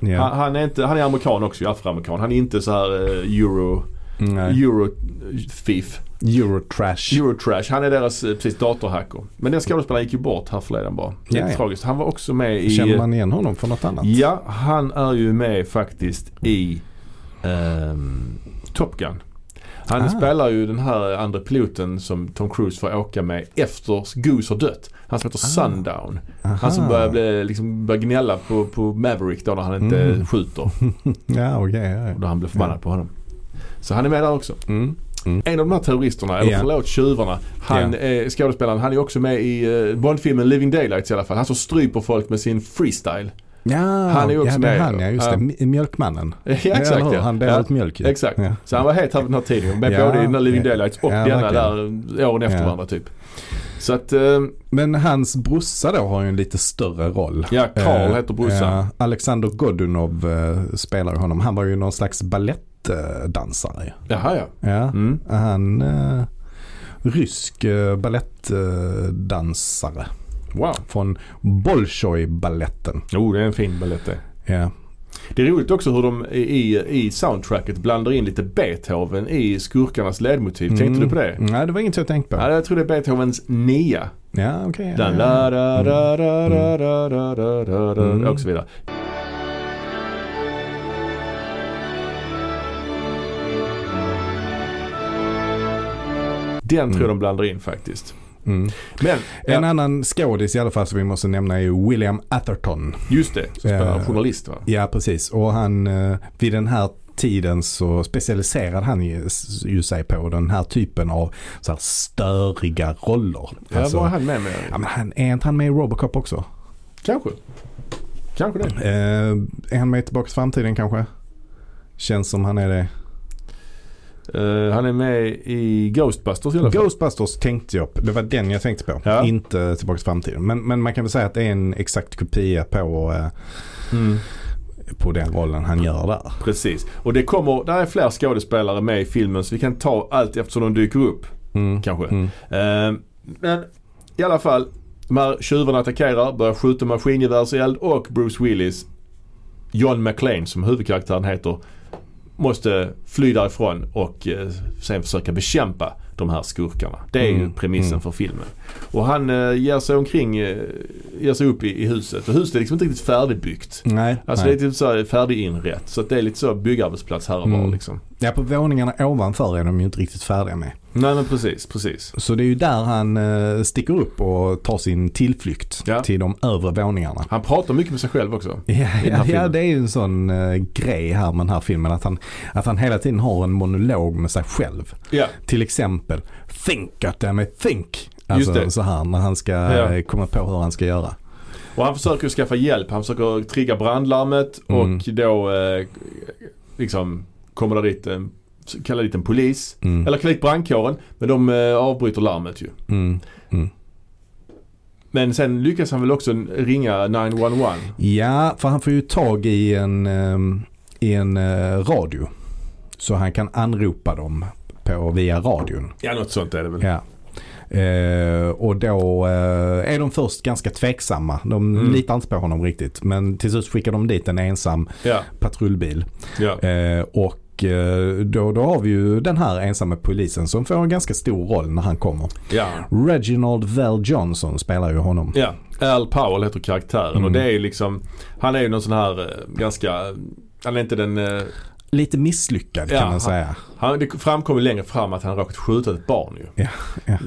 Speaker 2: ja.
Speaker 1: Han, han, är inte, han är amerikan också, afroamerikan. Han är inte så här eh, euro,
Speaker 2: Nej.
Speaker 1: euro thief,
Speaker 2: Eurotrash.
Speaker 1: eurotrash. Han är deras eh, precis datorhacker. Men den skådespelaren gick ju bort härförleden bara. Lite
Speaker 2: Ja, ja.
Speaker 1: tragiskt. Han var också med i...
Speaker 2: Känner man igen honom från något annat?
Speaker 1: Ja, han är ju med faktiskt i ehm, Top Gun. Han
Speaker 2: Ah.
Speaker 1: spelar ju den här andra piloten som Tom Cruise får åka med efter Goose har dött. Han som heter Sundown.
Speaker 2: Ah. Aha.
Speaker 1: Han som börjar, bli, liksom, börjar gnälla på, på Maverick då när han inte
Speaker 2: Mm.
Speaker 1: skjuter.
Speaker 2: Ja, okej. ja,
Speaker 1: Och
Speaker 2: ja.
Speaker 1: då han blir förbannad på honom. Så han är med där också.
Speaker 2: Mm.
Speaker 1: En av de här terroristerna, eller
Speaker 2: Ja.
Speaker 1: förlåt tjuvarna, han
Speaker 2: Ja.
Speaker 1: är skådespelaren, han är också med i eh, Bondfilmen Living Daylights i alla fall. Han som stryper folk med sin freestyle.
Speaker 2: Ja,
Speaker 1: Han är också
Speaker 2: ja, det är
Speaker 1: med.
Speaker 2: han ja. Just
Speaker 1: Ja.
Speaker 2: det. M- Mjölkmannen.
Speaker 1: Ja, exakt
Speaker 2: Eller hur?
Speaker 1: ja.
Speaker 2: Han delar
Speaker 1: ja.
Speaker 2: ut mjölk ju.
Speaker 1: Exakt.
Speaker 2: Ja.
Speaker 1: Så han var het här vid den här tiden. Med
Speaker 2: Ja.
Speaker 1: både i den där Living Daylights och
Speaker 2: Ja,
Speaker 1: denna
Speaker 2: verkligen.
Speaker 1: där åren efter
Speaker 2: Ja.
Speaker 1: varandra typ. Så att, eh,
Speaker 2: Men hans brorsa då har ju en lite större roll.
Speaker 1: ja, Karl
Speaker 2: Eh,
Speaker 1: heter brorsan.
Speaker 2: ja, Alexander Godunov eh, spelar ju honom. Han var ju någon slags balettdansare.
Speaker 1: Jaha ja.
Speaker 2: Ja.
Speaker 1: Mm.
Speaker 2: Han eh, rysk eh, balettdansare
Speaker 1: Wow.
Speaker 2: från Bolshoi-balletten.
Speaker 1: Jo, det är en fin balett det.
Speaker 2: Ja.
Speaker 1: Det är roligt också hur de i, i soundtracket blandar in lite Beethoven i skurkarnas ledmotiv.
Speaker 2: Mm.
Speaker 1: Tänkte du på det?
Speaker 2: Nej, det var inget jag tänkte på.
Speaker 1: Ja, jag tror det är Beethovens nia.
Speaker 2: Ja, okej. ja,
Speaker 1: Den
Speaker 2: ja.
Speaker 1: la ra ra ra ra ra ra ra ra ra
Speaker 2: Mm.
Speaker 1: och så vidare. Den tror jag de blandar in faktiskt.
Speaker 2: Mm.
Speaker 1: Men,
Speaker 2: En
Speaker 1: ja,
Speaker 2: annan skådis i alla fall som vi måste nämna är William Atherton.
Speaker 1: just det. Så spelar han
Speaker 2: Eh,
Speaker 1: journalist va?
Speaker 2: Ja, precis. Och han, eh, vid den här tiden så specialiserade han ju, ju sig på den här typen av så här störiga roller.
Speaker 1: Ja,
Speaker 2: Alltså,
Speaker 1: var han med
Speaker 2: ja,
Speaker 1: med?
Speaker 2: men han, är inte han med i Robocop också?
Speaker 1: Kanske. Kanske det.
Speaker 2: Eh, är han med i Tillbaka till framtiden kanske? Känns som han är det.
Speaker 1: Eh, han är med i Ghostbusters i alla fall.
Speaker 2: Ghostbusters tänkte jag på. Det var den jag tänkte på.
Speaker 1: Ja.
Speaker 2: Inte Tillbaka till framtiden. Men, men man kan väl säga att det är en exakt kopia på, eh,
Speaker 1: Mm.
Speaker 2: på den rollen han gör där.
Speaker 1: Precis. Och det kommer, där är fler skådespelare med i filmen så vi kan ta allt eftersom de dyker upp.
Speaker 2: Mm.
Speaker 1: Kanske.
Speaker 2: Mm.
Speaker 1: Eh, men i alla fall, de här tjuvarna attackerar, börjar skjuta maskingevärseld och Bruce Willis, John McClane som huvudkaraktären heter, måste fly därifrån och eh, sen försöka bekämpa de här skurkarna. Det är ju
Speaker 2: Mm,
Speaker 1: premissen
Speaker 2: mm.
Speaker 1: för filmen. Och han eh, ger sig omkring, eh, ger sig upp i, i huset. Och huset är liksom inte riktigt färdigbyggt.
Speaker 2: Nej,
Speaker 1: Alltså
Speaker 2: nej.
Speaker 1: det är typ så här färdiginrätt. Så att det är lite så byggarbetsplats här och var
Speaker 2: Mm.
Speaker 1: liksom.
Speaker 2: Ja, på våningarna ovanför är de ju inte riktigt färdiga med.
Speaker 1: Nej men precis, precis.
Speaker 2: Så det är ju där han eh, sticker upp och tar sin tillflykt
Speaker 1: Ja.
Speaker 2: till de övre våningarna.
Speaker 1: Han pratar mycket med sig själv också.
Speaker 2: Ja,
Speaker 1: den här
Speaker 2: ja, ja,
Speaker 1: filmen.
Speaker 2: det är ju en sån eh, grej här med den här filmen. Att han, att han hela tiden har en monolog med sig själv.
Speaker 1: Ja.
Speaker 2: Till exempel Think att damn it, think.
Speaker 1: Just
Speaker 2: Alltså
Speaker 1: det.
Speaker 2: så här när han ska
Speaker 1: Ja.
Speaker 2: eh, komma på hur han ska göra.
Speaker 1: Och han försöker ju skaffa hjälp. Han försöker trigga brandlarmet
Speaker 2: Mm.
Speaker 1: och då eh, liksom kommer det dit en, kallar dit en polis.
Speaker 2: Mm.
Speaker 1: Eller kallar dit brandkåren. Men de eh, avbryter larmet ju.
Speaker 2: Mm.
Speaker 1: Men sen lyckas han väl också ringa 911.
Speaker 2: Ja, för han får ju tag i en, ehm, i en eh, radio. Så han kan anropa dem på, via radion.
Speaker 1: Ja något sånt är det väl.
Speaker 2: Ja. Eh, och då eh, är de först ganska tveksamma. De
Speaker 1: Mm.
Speaker 2: litar inte på honom riktigt. Men till slut skickar de dit en ensam
Speaker 1: Ja,
Speaker 2: patrullbil.
Speaker 1: ja.
Speaker 2: Eh, och eh, då, då har vi ju den här ensamma polisen som får en ganska stor roll när han kommer.
Speaker 1: ja.
Speaker 2: Reginald Val Johnson spelar ju honom.
Speaker 1: Ja, Al Powell heter karaktären
Speaker 2: Mm.
Speaker 1: och det är ju liksom, han är ju någon sån här eh, ganska, eh, han är inte den, eh,
Speaker 2: Lite misslyckad
Speaker 1: Ja,
Speaker 2: kan man
Speaker 1: han-
Speaker 2: säga.
Speaker 1: han, det framkommer längre fram att han råkat skjuta ett barn ju.
Speaker 2: Ja,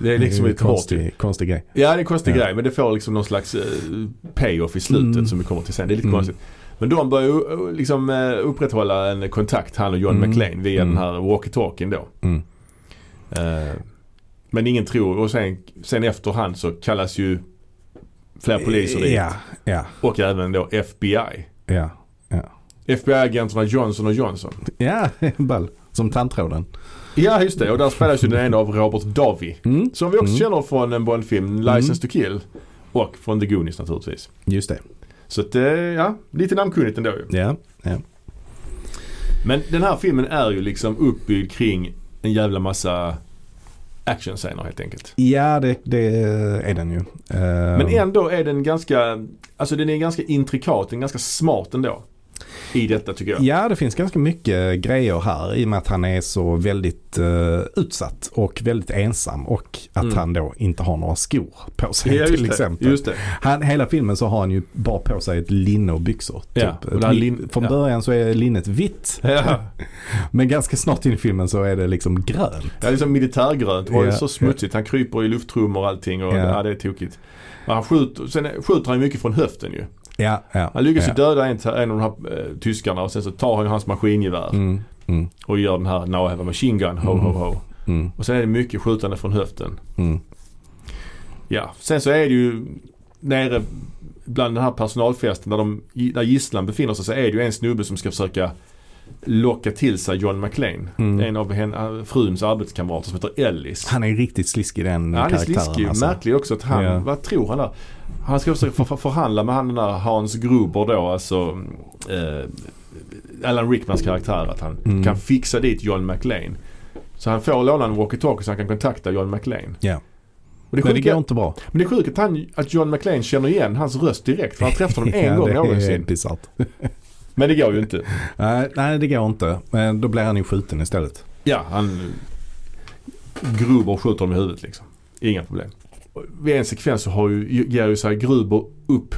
Speaker 1: Det är liksom
Speaker 2: ju
Speaker 1: lite hårt ju.
Speaker 2: konstig, konstig grej.
Speaker 1: Ja det är en konstig
Speaker 2: Ja.
Speaker 1: grej men det får liksom någon slags eh, payoff i slutet
Speaker 2: Mm.
Speaker 1: som vi kommer till sen. Det är lite
Speaker 2: Mm.
Speaker 1: konstigt. Men de börjar ju eh, liksom eh, upprätthålla en kontakt han och John
Speaker 2: Mm.
Speaker 1: McClane via
Speaker 2: Mm.
Speaker 1: den här walkie-talkien då.
Speaker 2: Mm.
Speaker 1: Eh, men ingen tror och sen, sen efterhand så kallas ju fler poliser dit
Speaker 2: Ja, ja,
Speaker 1: och även då FBI.
Speaker 2: ja.
Speaker 1: FBI-agenterna Johnson och Johnson.
Speaker 2: Ja, ball. Som tandtråden.
Speaker 1: Ja just det och där spelas ju den ena av Robert Davi.
Speaker 2: Mm.
Speaker 1: Som vi också
Speaker 2: Mm.
Speaker 1: känner från en Bondfilm, License
Speaker 2: Mm.
Speaker 1: to kill. Och från The Goonies naturligtvis.
Speaker 2: Just det.
Speaker 1: Så att, eh, ja, lite namnkunnigt ändå ju.
Speaker 2: Ja.
Speaker 1: Men den här filmen är ju liksom uppbyggd kring en jävla massa actionscener helt enkelt.
Speaker 2: Ja, det, det är den ju.
Speaker 1: Men
Speaker 2: Ehm,
Speaker 1: ändå är den ganska, alltså den är ganska intrikat, den är ganska smart ändå. I detta tycker jag.
Speaker 2: Ja, det finns ganska mycket grejer här i och med att han är så väldigt eh, utsatt och väldigt ensam och att
Speaker 1: Mm.
Speaker 2: han då inte har några skor på sig
Speaker 1: just
Speaker 2: till
Speaker 1: det,
Speaker 2: exempel.
Speaker 1: Just det.
Speaker 2: Han, hela filmen så har han ju bara på sig ett linne och byxor.
Speaker 1: Ja,
Speaker 2: Typ.
Speaker 1: och det här
Speaker 2: Ett
Speaker 1: lin-
Speaker 2: Från
Speaker 1: ja.
Speaker 2: början så är linnet vitt
Speaker 1: Ja.
Speaker 2: men ganska snart in i filmen så är det liksom grönt.
Speaker 1: Det är liksom militärgrönt och
Speaker 2: Ja,
Speaker 1: så smutsigt. Han kryper i lufttrum och allting och
Speaker 2: Ja.
Speaker 1: ja. det är tokigt. Men han skjuter, sen skjuter han ju mycket från höften ju.
Speaker 2: Ja, ja.
Speaker 1: Han lyckas
Speaker 2: ja.
Speaker 1: ju döda en, en av de här eh, tyskarna och sen så tar han ju hans maskingevär
Speaker 2: Mm, mm,
Speaker 1: och gör den här Now I have a machine gun, ho ho ho.
Speaker 2: mm,
Speaker 1: Och sen är det mycket skjutande från höften.
Speaker 2: mm.
Speaker 1: Ja, sen så är det ju nere bland den här personalfesten där, de, där gisslan befinner sig så är det ju en snubbe som ska försöka locka till sig John McLean.
Speaker 2: Mm.
Speaker 1: En av henne, fruns arbetskamrater som heter Ellis.
Speaker 2: Han är riktigt sliskig den
Speaker 1: Ja, han är
Speaker 2: karaktären.
Speaker 1: sliskig.
Speaker 2: alltså.
Speaker 1: Märklig också att han,
Speaker 2: Ja.
Speaker 1: vad tror han där? Han ska försöka för- för- förhandla med han den där Hans Gruber då, alltså eh, Alan Rickmans karaktär. Att han
Speaker 2: Mm.
Speaker 1: kan fixa dit John McLean. Så han får låna en walkie-talkie så han kan kontakta John McLean.
Speaker 2: Ja.
Speaker 1: Men det,
Speaker 2: Men det går
Speaker 1: sjuka,
Speaker 2: inte bra.
Speaker 1: men det är sjukt att, han, att John McLean känner igen hans röst direkt. För han träffade honom en
Speaker 2: Ja,
Speaker 1: gång
Speaker 2: det är
Speaker 1: någonsin.
Speaker 2: bisarrt.
Speaker 1: Men det går ju inte.
Speaker 2: Nej, nej, det går inte. Men då blir han ju skjuten istället.
Speaker 1: Ja, han Gruber skjuter honom i huvudet liksom. Inga problem. Och Vid en sekvens så har ju, ger ju sig Gruber upp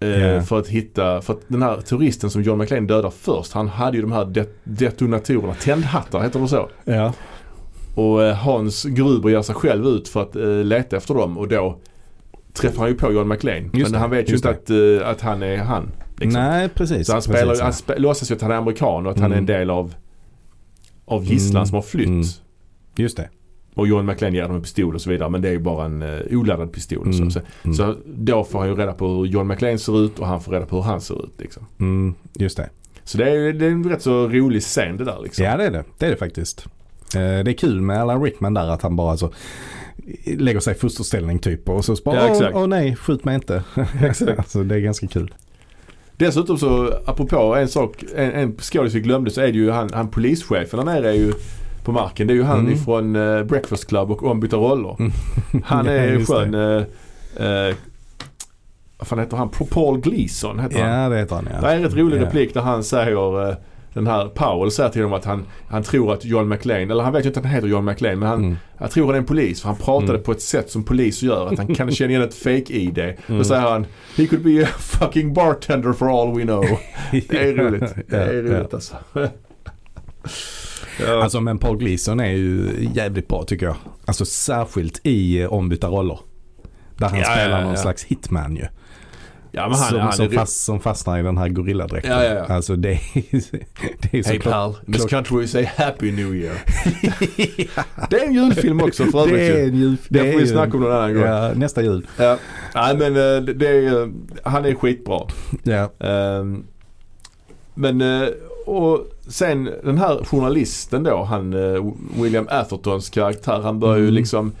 Speaker 1: eh,
Speaker 2: Ja.
Speaker 1: för att hitta, för att den här terroristen som John McClane dödar först, han hade ju de här det, detonatorerna, tändhattar heter de så.
Speaker 2: Ja.
Speaker 1: Och eh, Hans Gruber ger sig själv ut för att eh, leta efter dem och då träffar han ju på John McClane. Men
Speaker 2: det,
Speaker 1: han vet ju
Speaker 2: just
Speaker 1: inte att, eh, att han är han. Liksom.
Speaker 2: Nej, precis.
Speaker 1: Så han, spelar,
Speaker 2: precis,
Speaker 1: han spe, låtsas ju att han är amerikan och att han är en
Speaker 2: Mm.
Speaker 1: del av, av gisslan
Speaker 2: Mm.
Speaker 1: som har flytt.
Speaker 2: Mm. Just det.
Speaker 1: Och John McLean ger honom en pistol och så vidare men det är ju bara en eh, oladdad pistol. och
Speaker 2: Mm,
Speaker 1: Så. Så,
Speaker 2: mm.
Speaker 1: så då får han ju reda på hur John McLean ser ut och han får reda på hur han ser ut. Liksom.
Speaker 2: Mm, just det.
Speaker 1: Så det är, ju- det är en rätt så rolig scen det där liksom.
Speaker 2: Ja, det är det. Det är det faktiskt. Eh, Det är kul med Alan Rickman där att han bara så lägger sig i fosterställning typ och så bara
Speaker 1: Ja,
Speaker 2: åh,
Speaker 1: exakt.
Speaker 2: åh nej, skjut mig inte.
Speaker 1: Exakt.
Speaker 2: alltså, det är ganska kul.
Speaker 1: Dessutom så, apropå en sak, en, en skådis vi glömde så är det ju han, han polischefen där nere är ju på marken. Det är ju han
Speaker 2: Mm.
Speaker 1: ifrån eh, Breakfast Club och ombytta roller.
Speaker 2: Mm.
Speaker 1: Han är
Speaker 2: Ja,
Speaker 1: ju
Speaker 2: just
Speaker 1: skön. eh, eh, vad fan heter han? Paul Gleason heter han.
Speaker 2: Ja, det heter han ja.
Speaker 1: Det är en rätt rolig
Speaker 2: Ja.
Speaker 1: replik där han säger, eh, den här Powell säger till honom att han, han tror att John McLean, eller han vet ju inte att han heter John McLean, men han,
Speaker 2: Mm.
Speaker 1: han tror han är en polis för han pratade
Speaker 2: Mm.
Speaker 1: på ett sätt som poliser gör, att han kan känna igen ett fake-id.
Speaker 2: Mm.
Speaker 1: Då säger han, he could be a fucking bartender for all we know. Det är roligt. Det är
Speaker 2: Ja, ja.
Speaker 1: roligt alltså. Ja.
Speaker 2: Alltså men Paul Gleason är ju jävligt bra tycker jag. Alltså särskilt i eh, ombytta roller. Där han
Speaker 1: Ja,
Speaker 2: spelar
Speaker 1: ja,
Speaker 2: någon
Speaker 1: ja.
Speaker 2: slags hitman ju.
Speaker 1: ja men han,
Speaker 2: som,
Speaker 1: han
Speaker 2: som,
Speaker 1: är
Speaker 2: fast, som fastnar i den här gorilladräkten.
Speaker 1: Ja, ja, ja.
Speaker 2: Alltså det är, det är så
Speaker 1: Hey
Speaker 2: klart.
Speaker 1: pal, in this country we say happy new year. Det är en julfilm också för övrigt
Speaker 2: Det är
Speaker 1: ju.
Speaker 2: en jul.
Speaker 1: Det
Speaker 2: är
Speaker 1: får vi
Speaker 2: ju-
Speaker 1: snacka om någon annan gång.
Speaker 2: ja, nästa jul.
Speaker 1: Ja. Nej men eh, det- det är, eh, han är skitbra.
Speaker 2: Ja.
Speaker 1: Ehm, men eh, och sen den här journalisten då, han eh, William Athertons karaktär, han börjar ju
Speaker 2: Mm.
Speaker 1: liksom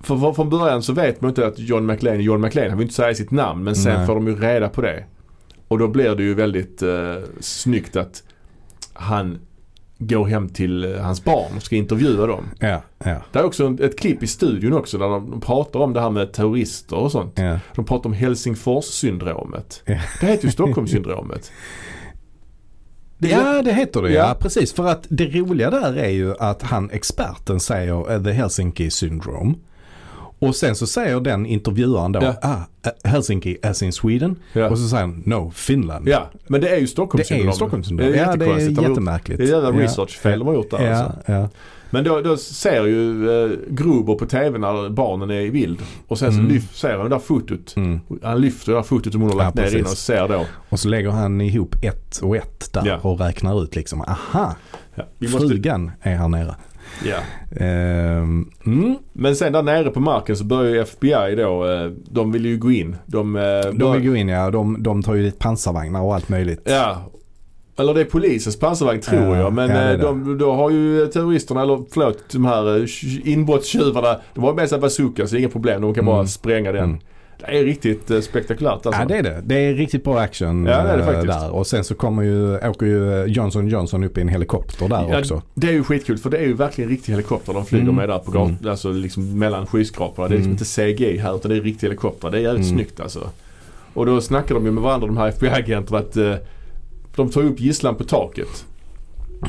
Speaker 1: för, för, från början så vet man inte att John McLean är John McLean. Han vill inte säga sitt namn men sen
Speaker 2: Nej.
Speaker 1: får de ju reda på det. Och då blir det ju väldigt eh, snyggt att han går hem till eh, hans barn och ska intervjua dem.
Speaker 2: Ja, ja,
Speaker 1: Det är också en- ett klipp i studion också där de de pratar om det här med terrorister och sånt.
Speaker 2: ja.
Speaker 1: De pratar om Helsingfors-syndromet.
Speaker 2: Ja.
Speaker 1: Det heter ju Stockholmssyndromet. Det är-
Speaker 2: ja, det heter det. Ja.
Speaker 1: Ja.
Speaker 2: precis. För att det roliga där är ju att han experten säger eh, the Helsinki syndrome. Och sen så säger den intervjuaren då,
Speaker 1: Ja.
Speaker 2: ah, eh, Helsinki as in Sweden.
Speaker 1: Ja.
Speaker 2: Och så säger han, no, Finland.
Speaker 1: Ja, men det är ju
Speaker 2: Det är
Speaker 1: Stockholmssyndromet.
Speaker 2: ju Stockholmssyndrom.
Speaker 1: Det är
Speaker 2: Ja, det är
Speaker 1: jättekonstigt. De har gjort-
Speaker 2: jättemärkligt.
Speaker 1: Det är jävla
Speaker 2: Ja.
Speaker 1: researchfel de har gjort där alltså.
Speaker 2: Ja, ja.
Speaker 1: Men då, då ser ju eh, Gruber på TV när barnen är i bild. Och sen så
Speaker 2: Mm.
Speaker 1: lyft, ser han det där fotot.
Speaker 2: Mm.
Speaker 1: Han lyfter det där fotot som hon har
Speaker 2: Ja,
Speaker 1: lagt ner
Speaker 2: precis.
Speaker 1: innan och ser då.
Speaker 2: Och så lägger han ihop ett och ett där
Speaker 1: Ja.
Speaker 2: och räknar ut liksom, aha,
Speaker 1: Ja, vi måste,
Speaker 2: frugan är här nere.
Speaker 1: ja.
Speaker 2: Ehm, mm.
Speaker 1: Men sen där nere på marken så börjar ju FBI då, eh, de vill ju gå in. De, eh,
Speaker 2: De
Speaker 1: bör-
Speaker 2: vill gå in ja, de, de tar ju dit pansarvagnar och allt möjligt.
Speaker 1: Ja. Eller det är polisens pansarvagn tror
Speaker 2: Ja,
Speaker 1: jag. Men
Speaker 2: ja, det är
Speaker 1: eh, de, då har ju eh, terroristerna, eller förlåt, de här eh, inbrottstjuvarna. De har med sig bazooka så det är inga problem. De kan bara
Speaker 2: Mm.
Speaker 1: spränga den.
Speaker 2: Mm.
Speaker 1: Det är riktigt eh, spektakulärt alltså.
Speaker 2: Ja det är det. Det är riktigt bra action
Speaker 1: Ja, det är det
Speaker 2: eh,
Speaker 1: faktiskt.
Speaker 2: där. Och sen så kommer ju, åker ju Johnson Johnson upp i en helikopter där
Speaker 1: Ja,
Speaker 2: också.
Speaker 1: Det är ju skitkul för det är ju verkligen riktig helikopter de flyger
Speaker 2: Mm.
Speaker 1: med där på gatan.
Speaker 2: Mm.
Speaker 1: Alltså liksom mellan skyskraporna. Det är liksom
Speaker 2: Mm.
Speaker 1: inte CGI här utan det är riktig helikopter. Det är jävligt
Speaker 2: Mm.
Speaker 1: snyggt alltså. Och då snackar de ju med varandra de här FBI-agenterna att eh, de tar upp gisslan på taket.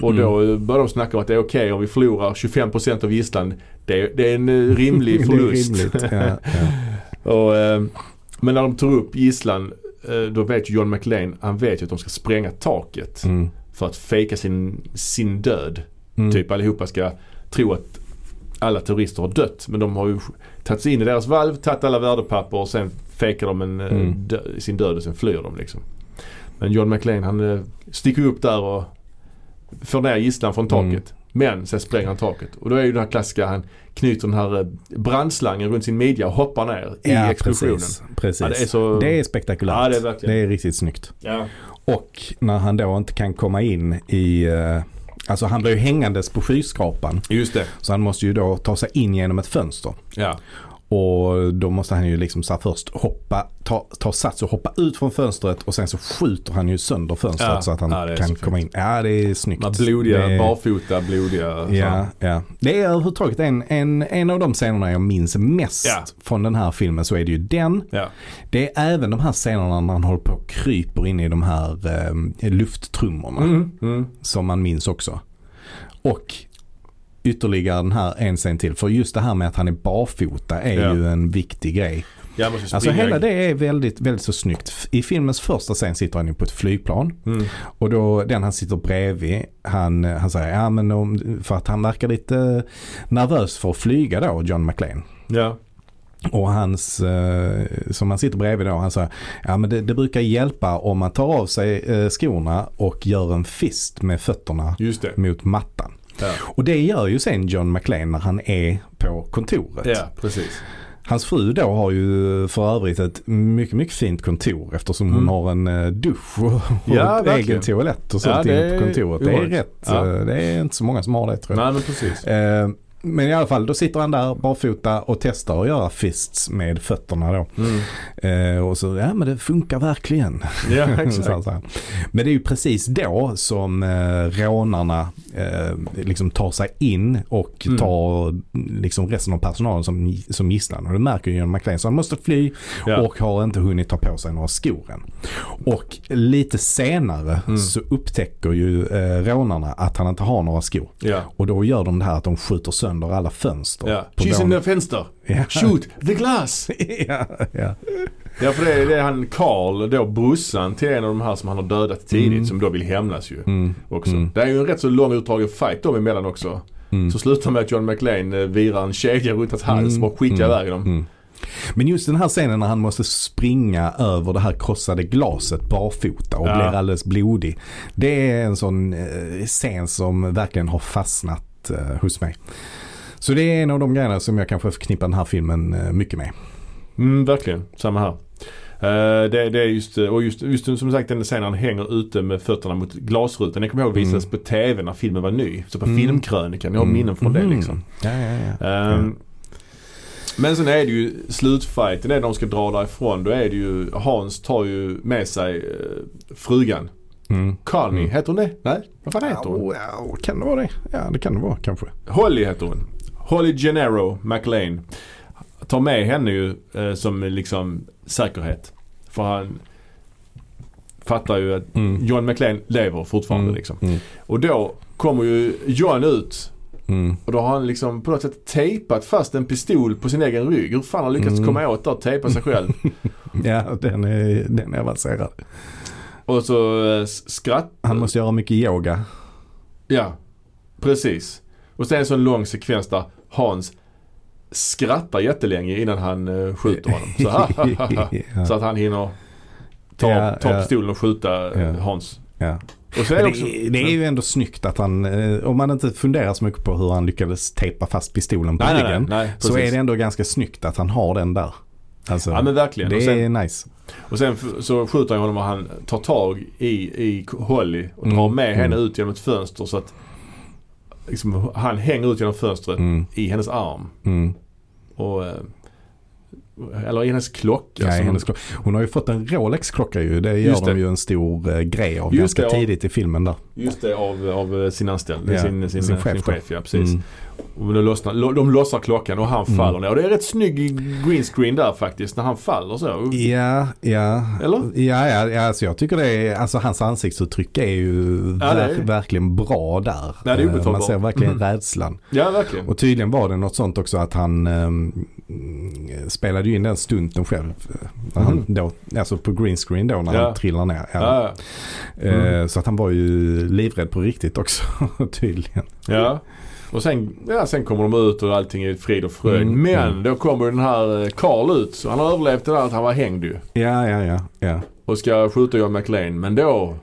Speaker 1: Och då
Speaker 2: Mm.
Speaker 1: eh, börjar de snacka om att det är okej om vi förlorar 25% av gisslan. Det är, det är en eh, rimlig förlust.
Speaker 2: det är rimligt. Ja, ja.
Speaker 1: Och, eh, men när de tar upp gisslan eh, då vet ju John McLean, han vet ju att de ska spränga taket
Speaker 2: Mm.
Speaker 1: för att fejka sin, sin död.
Speaker 2: Mm.
Speaker 1: Typ allihopa ska tro att alla terrorister har dött. Men de har ju tagit sig in i deras valv, tagit alla värdepapper och sen fejkar de en, eh,
Speaker 2: Mm.
Speaker 1: dö- sin död och sen flyr de liksom. Men John McLean han eh, sticker upp där och får ner gisslan från taket.
Speaker 2: Mm.
Speaker 1: Men sen spränger han taket. Och då är ju den här klassiska, han knyter den här eh, brandslangen runt sin midja och hoppar ner i
Speaker 2: Ja,
Speaker 1: explosionen.
Speaker 2: precis. precis.
Speaker 1: Ja, det är så...
Speaker 2: spektakulärt.
Speaker 1: Ja, det är verkligen.
Speaker 2: Det är riktigt snyggt.
Speaker 1: Ja.
Speaker 2: Och när han då inte kan komma in i, eh, alltså han blir ju hängandes på skyskrapan.
Speaker 1: Just det.
Speaker 2: Så han måste ju då ta sig in genom ett fönster.
Speaker 1: Ja.
Speaker 2: Och då måste han ju liksom så här först hoppa, ta, ta sats och hoppa ut från fönstret och sen så skjuter han ju sönder fönstret
Speaker 1: Ja,
Speaker 2: så att han
Speaker 1: ja, det är så
Speaker 2: kan
Speaker 1: fint.
Speaker 2: komma in. Ja det är snyggt.
Speaker 1: De här blodiga,
Speaker 2: det,
Speaker 1: barfota, blodiga.
Speaker 2: Ja, ja. Det är överhuvudtaget en, en, en av de scenerna jag minns mest
Speaker 1: Ja.
Speaker 2: från den här filmen så är det ju den.
Speaker 1: ja.
Speaker 2: Det är även de här scenerna när han håller på och kryper in i de här eh, lufttrummorna
Speaker 1: Mm.
Speaker 2: som man minns också. Och ytterligare den här en scen till. För just det här med att han är barfota är
Speaker 1: Ja.
Speaker 2: ju en viktig grej.
Speaker 1: Jag måste springa.
Speaker 2: Alltså hela det är väldigt, väldigt så snyggt. I filmens första scen sitter han ju på ett flygplan.
Speaker 1: Mm.
Speaker 2: Och då den han sitter bredvid, han, han säger ja men om, för att han verkar lite nervös för att flyga då, John McLean.
Speaker 1: Ja.
Speaker 2: Och hans, eh, som han sitter bredvid då, han säger ja men det, det brukar hjälpa om man tar av sig eh, skorna och gör en fist med fötterna
Speaker 1: Just det.
Speaker 2: mot mattan.
Speaker 1: Ja,
Speaker 2: Och det gör ju sen John McLean när han är på kontoret.
Speaker 1: ja precis.
Speaker 2: Hans fru då har ju för övrigt ett mycket, mycket fint kontor eftersom
Speaker 1: Mm.
Speaker 2: hon har en eh, dusch och,
Speaker 1: Ja,
Speaker 2: och en
Speaker 1: verkligen.
Speaker 2: egen toalett och sånt
Speaker 1: Ja, det
Speaker 2: inne
Speaker 1: är
Speaker 2: på kontoret. Det är
Speaker 1: ovanligt.
Speaker 2: rätt.
Speaker 1: Ja.
Speaker 2: eh, Det är inte så många som har det tror jag.
Speaker 1: Nej men precis.
Speaker 2: Eh, Men i alla fall, då sitter han där barfota och testar att göra fists med fötterna då.
Speaker 1: Mm.
Speaker 2: Eh, Och så, ja men det funkar verkligen.
Speaker 1: Ja
Speaker 2: Så här,
Speaker 1: exakt.
Speaker 2: så här. Men det är ju precis då som eh, rånarna eh, liksom tar sig in och
Speaker 1: Mm.
Speaker 2: tar liksom resten av personalen som, som gisslan. Och det märker ju John McLean. Så han måste fly
Speaker 1: Ja.
Speaker 2: och har inte hunnit ta på sig några skor än. Och lite senare
Speaker 1: Mm.
Speaker 2: så upptäcker ju eh, rånarna att han inte har några skor.
Speaker 1: Ja.
Speaker 2: Och då gör de det här att de skjuter sönder alla fönster.
Speaker 1: Ja.
Speaker 2: på
Speaker 1: She's in
Speaker 2: våningen.
Speaker 1: the fenster.
Speaker 2: Ja.
Speaker 1: Shoot the glass.
Speaker 2: ja, ja.
Speaker 1: Ja för det är, det är han Karl, då brorsan till en av de här som han har dödat tidigt
Speaker 2: Mm.
Speaker 1: som då vill hämnas ju.
Speaker 2: Mm.
Speaker 1: Också.
Speaker 2: Mm.
Speaker 1: Det är ju en rätt så lång utdragen fight dem emellan också.
Speaker 2: Mm.
Speaker 1: Så slutar med att John McLean eh, virar en kedja runt hans hals och bara skickar
Speaker 2: Mm.
Speaker 1: iväg dem.
Speaker 2: Mm. Men just den här scenen när han måste springa över det här krossade glaset barfota och
Speaker 1: Ja.
Speaker 2: blir alldeles blodig. Det är en sån eh, scen som verkligen har fastnat eh, hos mig. Så det är en av de grejerna som jag kanske förknippar den här filmen eh, mycket med.
Speaker 1: Mm, verkligen, samma här. Eh, det, det är just, eh, och just, just som sagt den scenen han hänger ute med fötterna mot glasrutan. Jag kommer ihåg visades på TV när filmen var ny. Så på
Speaker 2: Mm.
Speaker 1: filmkrönikan, jag har minnen från det
Speaker 2: Mhm.
Speaker 1: liksom.
Speaker 2: Ja, ja, ja.
Speaker 1: Ehm, Men sen är det ju slutfighten, när de ska dra därifrån, då är det ju Hans tar ju med sig eh, frugan
Speaker 2: Mm.
Speaker 1: Connie,
Speaker 2: Mm.
Speaker 1: heter hon det? Nej, vad fan heter hon?
Speaker 2: Ja, ja, kan det vara det? Ja, det kan det vara kanske.
Speaker 1: Holly heter hon. Holly Gennaro McLean. Tar med henne ju eh, som liksom säkerhet. För han fattar ju att
Speaker 2: Mm.
Speaker 1: John McLean lever fortfarande
Speaker 2: Mm.
Speaker 1: liksom.
Speaker 2: Mm.
Speaker 1: Och då kommer ju John ut
Speaker 2: Mm.
Speaker 1: och då har han liksom på något sätt tejpat fast en pistol på sin egen rygg. Hur fan har han lyckats
Speaker 2: Mm.
Speaker 1: komma åt där och tejpa sig själv?
Speaker 2: Ja, den är, den är avancerad.
Speaker 1: och så eh, skratt.
Speaker 2: Han måste göra mycket yoga.
Speaker 1: Ja, precis. Och sen en sån lång sekvens där Hans skrattar jättelänge innan han eh, skjuter honom. Så,
Speaker 2: ja.
Speaker 1: så att han hinner ta,
Speaker 2: Ja,
Speaker 1: ta
Speaker 2: ja.
Speaker 1: pistolen och skjuta eh,
Speaker 2: Ja.
Speaker 1: Hans.
Speaker 2: ja.
Speaker 1: Och så är
Speaker 2: Men
Speaker 1: det
Speaker 2: det,
Speaker 1: också...
Speaker 2: det är ju ändå snyggt att han, eh, om man inte funderar så mycket på hur han lyckades tejpa fast pistolen på
Speaker 1: Nej, nej, nej.
Speaker 2: ryggen.
Speaker 1: nej
Speaker 2: Så
Speaker 1: precis.
Speaker 2: är det ändå ganska snyggt att han har den där. Alltså,
Speaker 1: Ja men verkligen.
Speaker 2: det
Speaker 1: Och sen,
Speaker 2: är nice.
Speaker 1: och sen f- så skjuter han honom och han tar tag i, i Holly och drar
Speaker 2: Mm.
Speaker 1: med henne
Speaker 2: Mm.
Speaker 1: ut genom ett fönster så att liksom, han hänger ut genom fönstret
Speaker 2: Mm,
Speaker 1: i hennes arm.
Speaker 2: mm.
Speaker 1: Och, eh, eller i hennes klocka.
Speaker 2: Ja,
Speaker 1: som-
Speaker 2: hennes klocka. Hon har ju fått en Rolex-klocka ju. Det gör
Speaker 1: Just
Speaker 2: de
Speaker 1: det.
Speaker 2: ju en stor eh, grej av
Speaker 1: Just
Speaker 2: ganska
Speaker 1: det, ja.
Speaker 2: tidigt i filmen där.
Speaker 1: Just det, av, av sin anställd.
Speaker 2: Ja,
Speaker 1: Sin, sin,
Speaker 2: sin
Speaker 1: sin,
Speaker 2: chef
Speaker 1: chef,
Speaker 2: då.
Speaker 1: sin chef. Ja, precis.
Speaker 2: Mm.
Speaker 1: Och då lossnar, lo, de lossar klockan och han
Speaker 2: Mm.
Speaker 1: faller ner. Och det är rätt snygg green screen där faktiskt när han faller så.
Speaker 2: Ja, ja.
Speaker 1: Eller?
Speaker 2: Ja, ja, ja alltså jag tycker det är, alltså hans ansiktsuttryck är ju
Speaker 1: Ja, det är-
Speaker 2: ver- verkligen bra där.
Speaker 1: Nej, det är obetalbart.
Speaker 2: Eh, Man ser verkligen
Speaker 1: Mhm.
Speaker 2: rädslan.
Speaker 1: Ja, verkligen.
Speaker 2: Och tydligen var det något sånt också att han ehm, spelade ju in den stunten själv. eh, När han
Speaker 1: Mhm.
Speaker 2: då, alltså på green screen då när
Speaker 1: Ja.
Speaker 2: han trillar ner. Ja.
Speaker 1: Ja, Mm.
Speaker 2: Eh, Så att han var ju livrädd på riktigt också tydligen.
Speaker 1: ja. Och sen, ja, sen kommer de ut och allting är frid och fröjd.
Speaker 2: Mm.
Speaker 1: Men
Speaker 2: Mm.
Speaker 1: då kommer den här eh, Carl ut. Så han har överlevt det där att han var hängd ju.
Speaker 2: Ja, ja, ja. ja.
Speaker 1: Och ska skjuta John McLean. Men då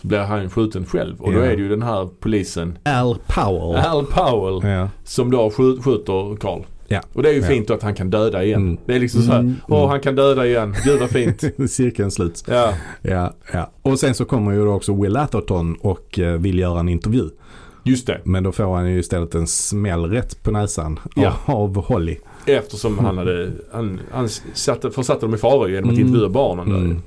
Speaker 1: så blir han skjuten själv. Och då
Speaker 2: Ja.
Speaker 1: är det ju den här polisen
Speaker 2: Al Powell.
Speaker 1: Al Powell
Speaker 2: Ja.
Speaker 1: som då skjut, skjuter Carl.
Speaker 2: Ja.
Speaker 1: Och det är ju
Speaker 2: Ja.
Speaker 1: fint då att han kan döda igen.
Speaker 2: Mm.
Speaker 1: Det är liksom så här,
Speaker 2: Mm.
Speaker 1: åh han kan döda igen, gud vad fint.
Speaker 2: Cirkeln sluts.
Speaker 1: Ja,
Speaker 2: Ja, ja. Och sen så kommer ju då också Will Atherton och eh, vill göra en intervju.
Speaker 1: just det.
Speaker 2: Men då får han ju istället en smäll rätt på näsan
Speaker 1: Ja.
Speaker 2: av Holly.
Speaker 1: Eftersom han hade, han, han satte, försatte dem i fara genom att
Speaker 2: Mm.
Speaker 1: intervjua barnen där.
Speaker 2: Mm.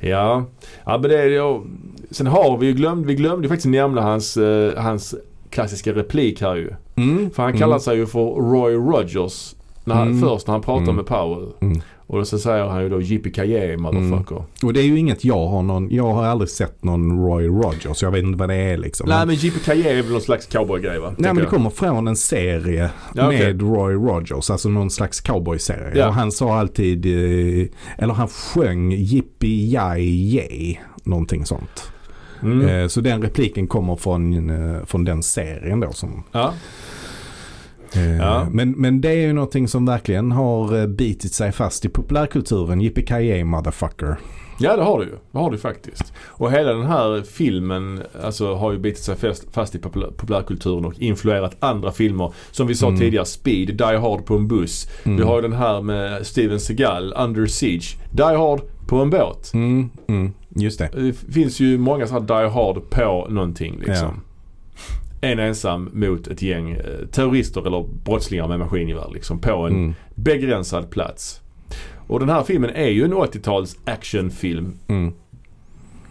Speaker 1: Ja. ja, men det är ju, sen har vi ju glömt, vi glömde ju faktiskt nämna hans, eh, hans klassiska replik här ju.
Speaker 2: Mm.
Speaker 1: För han kallar
Speaker 2: Mm.
Speaker 1: sig ju för Roy Rogers när han,
Speaker 2: Mm.
Speaker 1: först när han pratar
Speaker 2: Mm.
Speaker 1: med Powell.
Speaker 2: Mm.
Speaker 1: Och så säger han ju då yippee motherfucker.
Speaker 2: Och det är ju inget jag har någon, jag har aldrig sett någon Roy Rogers. Jag vet inte vad det är liksom.
Speaker 1: Nej men yippee är väl någon slags cowboygrej va?
Speaker 2: Nej
Speaker 1: tänker
Speaker 2: men det
Speaker 1: jag.
Speaker 2: kommer från en serie
Speaker 1: Ja, okej.
Speaker 2: med Roy Rogers, alltså någon slags cowboyserie.
Speaker 1: Ja.
Speaker 2: Och han sa alltid, eh, eller han sjöng Yippie Jai Yay, någonting sånt.
Speaker 1: Mm.
Speaker 2: Eh, Så den repliken kommer från, eh, från den serien då. Som,
Speaker 1: Ja.
Speaker 2: eh,
Speaker 1: Ja.
Speaker 2: men, men det är ju någonting som verkligen har eh, bitit sig fast i populärkulturen. Yippie Jai motherfucker.
Speaker 1: ja, det har du ju. Det har du faktiskt. Och hela den här filmen alltså, har ju bitit sig fast, fast i populär, populärkulturen och influerat andra filmer. Som vi sa
Speaker 2: Mm.
Speaker 1: tidigare, Speed, Die Hard på en buss.
Speaker 2: Mm.
Speaker 1: Vi har ju den här med Steven Seagal, Under Siege. Die Hard på en båt.
Speaker 2: Mm, mm, just det.
Speaker 1: Det finns ju många sådana Die Hard på någonting liksom. En ensam mot ett gäng eh, terrorister eller brottslingar med maskingevär liksom på en
Speaker 2: Mm,
Speaker 1: begränsad plats. Och den här filmen är ju en 80-tals actionfilm
Speaker 2: mm,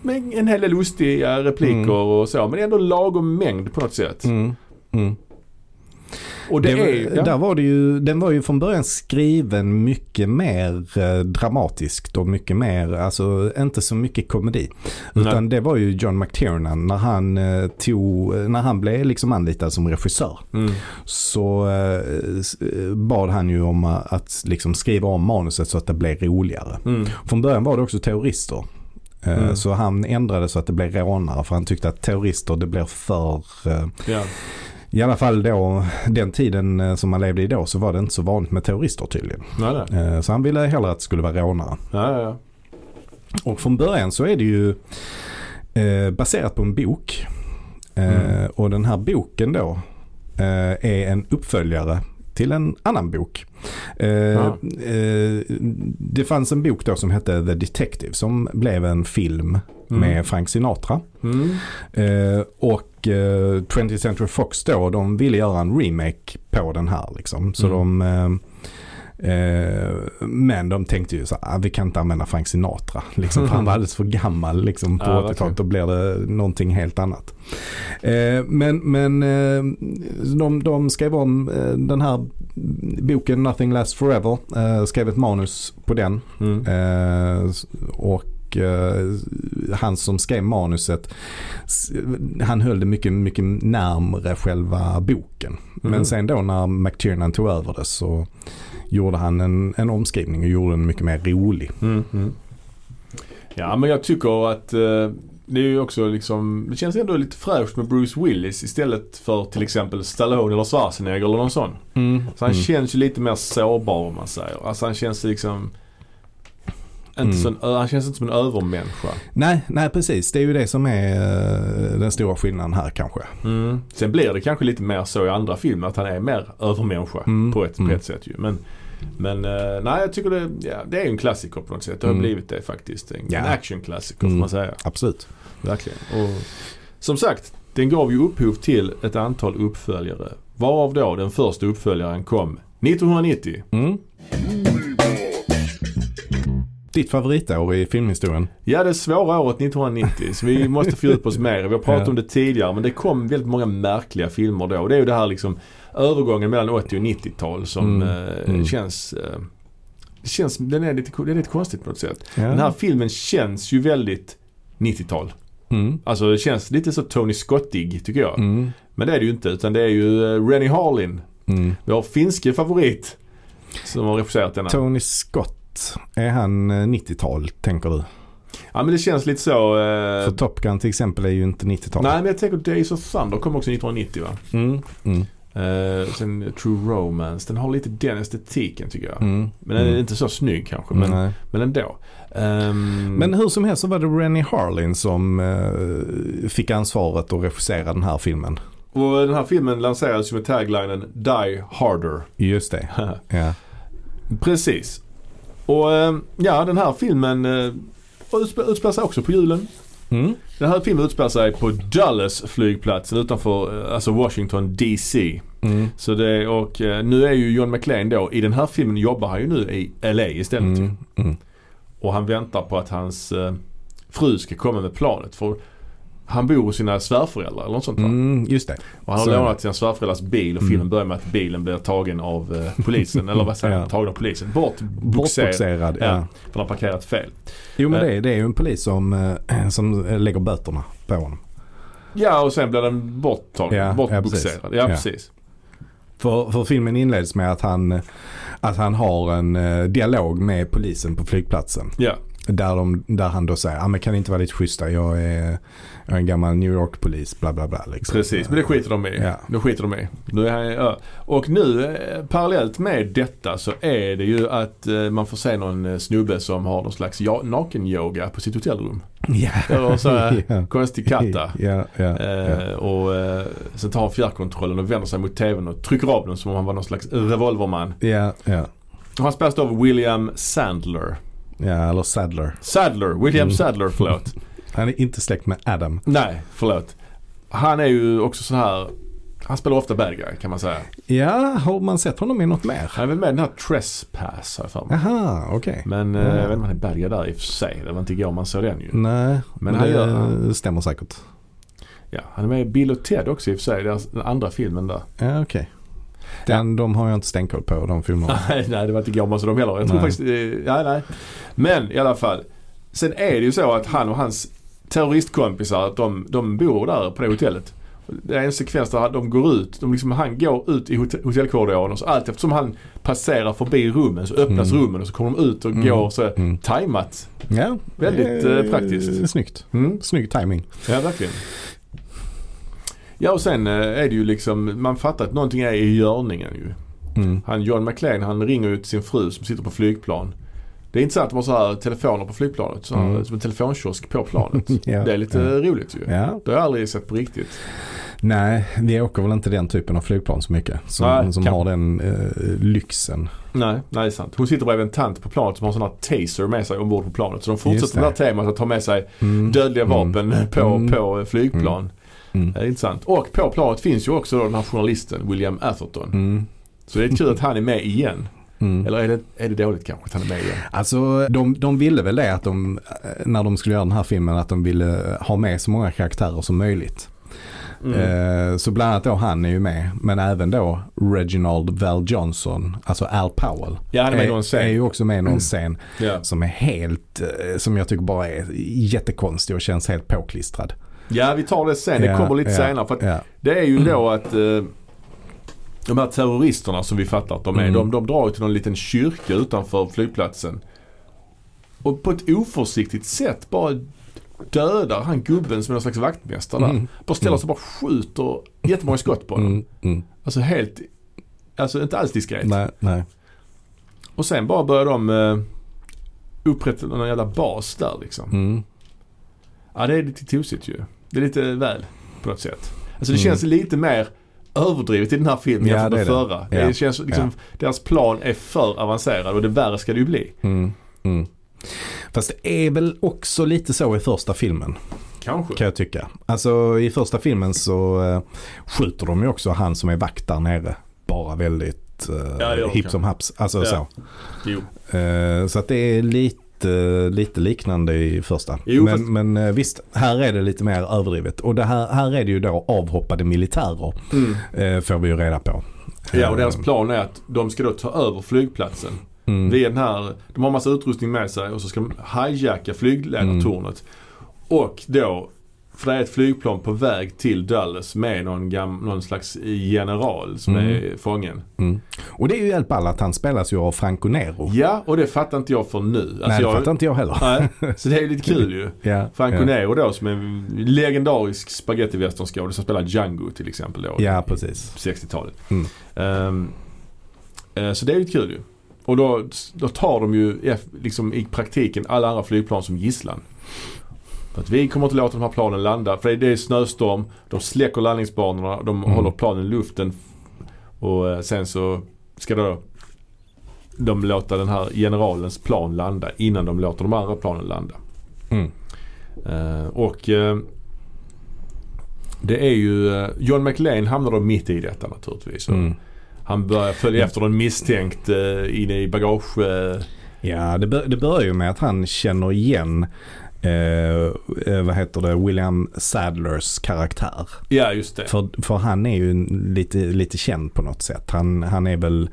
Speaker 1: med en hel del lustiga repliker
Speaker 2: Mm.
Speaker 1: och så. Men ändå lagom mängd på något sätt.
Speaker 2: mm, mm.
Speaker 1: Och det,
Speaker 2: var-
Speaker 1: är ja.
Speaker 2: där var det ju, den var ju från början skriven mycket mer eh, dramatiskt och mycket mer, alltså inte så mycket komedi.
Speaker 1: Nej.
Speaker 2: Utan det var ju John McTiernan när han eh, tog, när han blev liksom anlitad som regissör.
Speaker 1: Mm.
Speaker 2: Så eh, s- eh, bad han ju om eh, att liksom skriva om manuset så att det blev roligare.
Speaker 1: Mm.
Speaker 2: Från början var det också terrorister. Eh,
Speaker 1: Mm.
Speaker 2: Så han ändrade så att det blev rånare för han tyckte att terrorister det blir för eh,
Speaker 1: Ja.
Speaker 2: i alla fall då, den tiden eh, som man levde i då så var det inte så vanligt med terrorister tydligen.
Speaker 1: Nej, nej.
Speaker 2: Eh, Så han ville hellre att det skulle vara rånare.
Speaker 1: Ja, ja, ja.
Speaker 2: Och från början så är det ju eh, baserat på en bok. Eh, Och den här boken då eh, är en uppföljare till en annan bok. Eh,
Speaker 1: Ah.
Speaker 2: eh, det fanns en bok då som hette The Detective som blev en film
Speaker 1: Mm.
Speaker 2: med Frank Sinatra.
Speaker 1: Mm.
Speaker 2: Eh, och eh, 20th Century Fox då, de ville göra en remake på den här liksom. Så
Speaker 1: Mm.
Speaker 2: de Eh, men de tänkte ju så här, "Ah, vi kan inte använda Frank Sinatra. Liksom, för han var alldeles för gammal liksom, på
Speaker 1: Ja,
Speaker 2: 80-talet. Då blir det någonting helt annat. Eh, men men eh, de, de skrev om eh, den här boken Nothing Lasts Forever. Eh, skrev ett manus på den.
Speaker 1: Mm.
Speaker 2: Eh, och eh, han som skrev manuset, s- han höll det mycket, mycket närmre själva boken.
Speaker 1: Mhm.
Speaker 2: Men sen då när McTiernan tog över det så gjorde han en, en omskrivning och gjorde den mycket mer rolig.
Speaker 1: Mm. Mm. Ja men jag tycker att eh, det är ju också liksom, det känns ändå lite fräscht med Bruce Willis istället för till exempel Stallone eller Schwarzenegger eller någon sån. Så han
Speaker 2: Mm.
Speaker 1: känns ju lite mer sårbar om man säger. Alltså han känns liksom inte
Speaker 2: Mm.
Speaker 1: som, en ö- han känns inte som en övermänniska.
Speaker 2: Nej, nej, precis. Det är ju det som är eh, den stora skillnaden här kanske. Mm.
Speaker 1: Sen blir det kanske lite mer så i andra filmer att han är mer övermänniska
Speaker 2: Mm.
Speaker 1: på, ett,
Speaker 2: Mm.
Speaker 1: på ett sätt ju. Men, men eh, nej jag tycker det, ja, det är ju en klassiker på något sätt. Det har
Speaker 2: Mm.
Speaker 1: blivit det faktiskt. En,
Speaker 2: Ja.
Speaker 1: en actionklassiker får
Speaker 2: Mm.
Speaker 1: man säga.
Speaker 2: Absolut.
Speaker 1: Verkligen. Och, som sagt, den gav ju upphov till ett antal uppföljare. Varav då den första uppföljaren kom 1990.
Speaker 2: Mm. Ditt favoritår i filmhistorien?
Speaker 1: Ja, det svåra året 1990. Så vi måste fördjupa oss mer. Vi har pratat
Speaker 2: Ja.
Speaker 1: om det tidigare men det kom väldigt många märkliga filmer då. Det är ju det här liksom övergången mellan 80 och 90-tal som
Speaker 2: Mm.
Speaker 1: eh,
Speaker 2: Mm.
Speaker 1: känns... Eh, det känns den är, lite, den är lite konstigt på något sätt.
Speaker 2: Ja.
Speaker 1: Den här filmen känns ju väldigt 90-tal.
Speaker 2: Mm.
Speaker 1: Alltså det känns lite så Tony Scottig tycker jag.
Speaker 2: Mm.
Speaker 1: Men det är det ju inte utan det är ju eh, Rennie Harlin,
Speaker 2: Mm.
Speaker 1: vår finske favorit, som har regisserat denna.
Speaker 2: Tony Scott, är han eh, 90-tal tänker du?
Speaker 1: Ja men det känns lite så... Eh,
Speaker 2: För Top Gun till exempel är ju inte 90-tal.
Speaker 1: nej men jag tänker Days of Thunder kom också 1990 va?
Speaker 2: Mm, mm,
Speaker 1: Eh, sen True Romance, den har lite den estetiken tycker jag.
Speaker 2: mm,
Speaker 1: Men den är
Speaker 2: mm.
Speaker 1: inte så snygg kanske,
Speaker 2: Men,
Speaker 1: men, mm.
Speaker 2: Nej.
Speaker 1: men ändå. Ehm,
Speaker 2: men hur som helst så var det Rennie Harlin som eh, fick ansvaret att regissera den här filmen.
Speaker 1: och den här filmen lanserades ju med taglinen Die Harder.
Speaker 2: Just det. Ja.
Speaker 1: Precis. Och ehm, ja, den här filmen uh, utspelar sig också på julen.
Speaker 2: Mm.
Speaker 1: Den här filmen utspelar sig på Dulles flygplatsen utanför eh, alltså Washington DC.
Speaker 2: Mm.
Speaker 1: Så det, och eh, nu är ju John McClane då, i den här filmen jobbar han ju nu i LA istället. ju.
Speaker 2: Mm. Mm.
Speaker 1: Och han väntar på att hans eh, fru ska komma med planet. För han bor hos sina svärföräldrar eller något sånt va?
Speaker 2: Mm. Just det.
Speaker 1: Och han har
Speaker 2: så är
Speaker 1: lånat sina svärföräldrars bil och
Speaker 2: Mm.
Speaker 1: filmen börjar med att bilen blir tagen av eh, polisen. eller vad säger man?
Speaker 2: Ja.
Speaker 1: Tagen av polisen. Bortboxerad.
Speaker 2: Bortboxerad. Ja.
Speaker 1: Ja. Eh. För han har parkerat fel.
Speaker 2: Jo men det, är- det är ju en polis som, eh, som eh, lägger böterna på honom.
Speaker 1: Ja och sen blir den borttagen.
Speaker 2: Ja, ja,
Speaker 1: bortboxerad.
Speaker 2: precis.
Speaker 1: Ja
Speaker 2: Ja.
Speaker 1: precis.
Speaker 2: För, för filmen inleds med att han, eh, att han har en eh, dialog med polisen på flygplatsen.
Speaker 1: Ja.
Speaker 2: Där, de, där han då säger, ah, men kan ni inte vara lite schyssta, jag är, jag är en gammal New York-polis, bla bla bla. Liksom.
Speaker 1: Precis, men det skiter de i.
Speaker 2: Ja.
Speaker 1: Det skiter de i. Nu är han, ja. Och nu eh, parallellt med detta så är det ju att eh, man får se någon eh, snubbe som har någon slags ja, naken-yoga på sitt hotellrum.
Speaker 2: Ja.
Speaker 1: Eller så här,
Speaker 2: Ja.
Speaker 1: konstig katta.
Speaker 2: Ja, ja, ja.
Speaker 1: Eh, och eh, sen tar han fjärrkontrollen och vänder sig mot tvn och trycker av den som om han var någon slags revolverman.
Speaker 2: Ja, ja.
Speaker 1: Och han spelas då av William Sandler.
Speaker 2: Ja, eller Sadler.
Speaker 1: Sadler, William
Speaker 2: Mm.
Speaker 1: Sadler, förlåt.
Speaker 2: Han är inte släkt med Adam.
Speaker 1: Nej, förlåt. Han är ju också så här, han spelar ofta bad guy kan man säga.
Speaker 2: Ja, har man sett honom i något mer?
Speaker 1: Han är väl med i den här Trespass har jag för mig.
Speaker 2: Aha, okej.
Speaker 1: Men eh, jag vet
Speaker 2: Ah. Ja.
Speaker 1: inte om han är bad guy där i och för sig. Det var inte igår man såg den ju.
Speaker 2: Nej, men
Speaker 1: han
Speaker 2: det
Speaker 1: gör-
Speaker 2: stämmer säkert.
Speaker 1: Ja, han är med i Bill och Ted också i och för sig. Deras- Den andra filmen där.
Speaker 2: Ja, okej. Den, De har jag inte stenkoll på, de filmerna.
Speaker 1: Nej, nej, det var inte Gorman så de heller. Jag tror
Speaker 2: Nej.
Speaker 1: faktiskt, eh, nej, nej. Men i alla fall. Sen är det ju så att han och hans terroristkompisar, att de, de bor där på det hotellet. Det är en sekvens där de går ut, de liksom, han går ut i hotell, hotellkorridoren och så allt eftersom han passerar förbi rummen så öppnas
Speaker 2: Mm.
Speaker 1: rummen och så kommer de ut och
Speaker 2: Mm.
Speaker 1: går så
Speaker 2: Mm.
Speaker 1: tajmat.
Speaker 2: Ja,
Speaker 1: Väldigt,
Speaker 2: det är-
Speaker 1: eh, praktiskt.
Speaker 2: Snyggt.
Speaker 1: Mm.
Speaker 2: Snygg timing.
Speaker 1: Ja, verkligen. Ja och sen eh, är det ju liksom, man fattar att någonting är i görningen ju.
Speaker 2: Mm.
Speaker 1: Han John McLean han ringer ut sin fru som sitter på flygplan. Det är inte så att de har så här telefoner på flygplanet. Så här,
Speaker 2: Mm.
Speaker 1: Som en telefonkiosk på planet.
Speaker 2: Ja.
Speaker 1: Det är lite
Speaker 2: Ja.
Speaker 1: roligt ju.
Speaker 2: Ja,
Speaker 1: Det har jag aldrig sett på riktigt.
Speaker 2: Nej, vi åker väl inte den typen av flygplan så mycket. Som,
Speaker 1: Nej,
Speaker 2: som
Speaker 1: kan-
Speaker 2: har den eh, lyxen.
Speaker 1: Nej, nej det är sant. Hon sitter bredvid en tant på planet som har en sån här taser med sig ombord på planet. Så de fortsätter
Speaker 2: Just
Speaker 1: med
Speaker 2: det.
Speaker 1: det här temat att ta med sig
Speaker 2: Mm.
Speaker 1: dödliga vapen
Speaker 2: Mm.
Speaker 1: på,
Speaker 2: Mm.
Speaker 1: på eh, flygplan.
Speaker 2: Mm.
Speaker 1: Det är intressant. Och på planet finns ju också då den här journalisten William Atherton.
Speaker 2: Mm.
Speaker 1: Så det är kul att han är med igen.
Speaker 2: Mm.
Speaker 1: Eller är det, är det dåligt kanske att han är med igen?
Speaker 2: Alltså de, de ville väl det att de, eh, när de skulle göra den här filmen, att de ville ha med så många karaktärer som möjligt.
Speaker 1: Mm.
Speaker 2: Eh, Så bland annat då han är ju med, men även då Reginald Val Johnson, alltså Al Powell.
Speaker 1: Ja, han är med i någon
Speaker 2: är
Speaker 1: scen. Mm.
Speaker 2: ju också med i någon scen
Speaker 1: Ja.
Speaker 2: som är helt, eh, som jag tycker bara är jättekonstig och känns helt påklistrad.
Speaker 1: ja, vi tar det sen. Det
Speaker 2: Ja,
Speaker 1: kommer lite
Speaker 2: ja,
Speaker 1: senare. För att
Speaker 2: Ja.
Speaker 1: Det är ju
Speaker 2: Mm.
Speaker 1: då att eh, de här terroristerna som vi fattar att de är,
Speaker 2: Mm.
Speaker 1: de, de drar ju till någon liten kyrka utanför flygplatsen. Och på ett oförsiktigt sätt bara dödar han gubben som är någon slags vaktmästare där.
Speaker 2: Mm.
Speaker 1: Bara ställer sig och bara skjuter jättemånga skott på honom.
Speaker 2: Mm, mm.
Speaker 1: Alltså helt, alltså inte alls diskret.
Speaker 2: Nej, nej.
Speaker 1: Och sen bara börjar de eh, upprätta någon jävla bas där liksom.
Speaker 2: Mm.
Speaker 1: Ja, det är lite tosigt ju. Det är lite väl på något sätt. Alltså det
Speaker 2: Mm.
Speaker 1: känns lite mer överdrivet i den här filmen
Speaker 2: Ja,
Speaker 1: jämfört
Speaker 2: det
Speaker 1: med
Speaker 2: är det.
Speaker 1: förra.
Speaker 2: Ja.
Speaker 1: Det känns liksom, deras plan är för avancerad och det värre ska det ju bli.
Speaker 2: Mm. Mm. Fast det är väl också lite så i första filmen.
Speaker 1: Kanske.
Speaker 2: Kan jag tycka. Alltså i första filmen så eh, skjuter de ju också han som är vakt där nere. Bara väldigt eh,
Speaker 1: Ja, det gör de
Speaker 2: hipp som haps. Alltså
Speaker 1: Ja.
Speaker 2: så.
Speaker 1: Jo.
Speaker 2: Eh, så att det är lite, lite liknande i första.
Speaker 1: Jo,
Speaker 2: men,
Speaker 1: fast-
Speaker 2: men eh, visst, här är det lite mer överdrivet. Och det här, här är det ju då avhoppade militärer.
Speaker 1: Mm.
Speaker 2: Eh, får vi ju reda på.
Speaker 1: Ja, och deras
Speaker 2: Eh,
Speaker 1: plan är att de ska då ta över flygplatsen.
Speaker 2: mm,
Speaker 1: Via den här, de har massa utrustning med sig och så ska de hijacka flygledartornet.
Speaker 2: Mm.
Speaker 1: Och då, för det är ett flygplan på väg till Dallas med någon, gam, någon slags general som
Speaker 2: Mm.
Speaker 1: är fången.
Speaker 2: mm. Och det är ju helt ball att han spelas ju av Franco Nero.
Speaker 1: Ja, och det fattar inte jag för nu. Alltså
Speaker 2: Oh. Nej, det
Speaker 1: jag,
Speaker 2: fattar inte jag heller.
Speaker 1: Nej, så det är ju lite kul ju.
Speaker 2: Ja,
Speaker 1: Franco
Speaker 2: ja.
Speaker 1: Nero då som är en legendarisk spagettivästernskådis som spelar Django till exempel då.
Speaker 2: Ja,
Speaker 1: på
Speaker 2: precis.
Speaker 1: 60-talet.
Speaker 2: Mm.
Speaker 1: Ehm, eh, så det är ju lite kul ju. Och då, då tar de ju eff- liksom i praktiken alla andra flygplan som gisslan. För att vi kommer inte låta de här planen landa. För det är- det är snöstorm, de släcker landningsbanorna, de
Speaker 2: Mm.
Speaker 1: håller planen i luften. Och eh, sen så ska då de låta den här generalens plan landa innan de låter de andra planen landa.
Speaker 2: Mm.
Speaker 1: Eh, och eh, det är ju... Eh, John McLean hamnar då mitt i detta naturligtvis.
Speaker 2: Mm.
Speaker 1: Han börjar följa efter någon misstänkt eh, inne i bagage... Eh,
Speaker 2: Ja, det, bör, det börjar ju med att han känner igen eh, eh, vad heter det, William Sadlers karaktär.
Speaker 1: ja, just det.
Speaker 2: För, för han är ju en- lite, lite känd på något sätt. Han, han är väl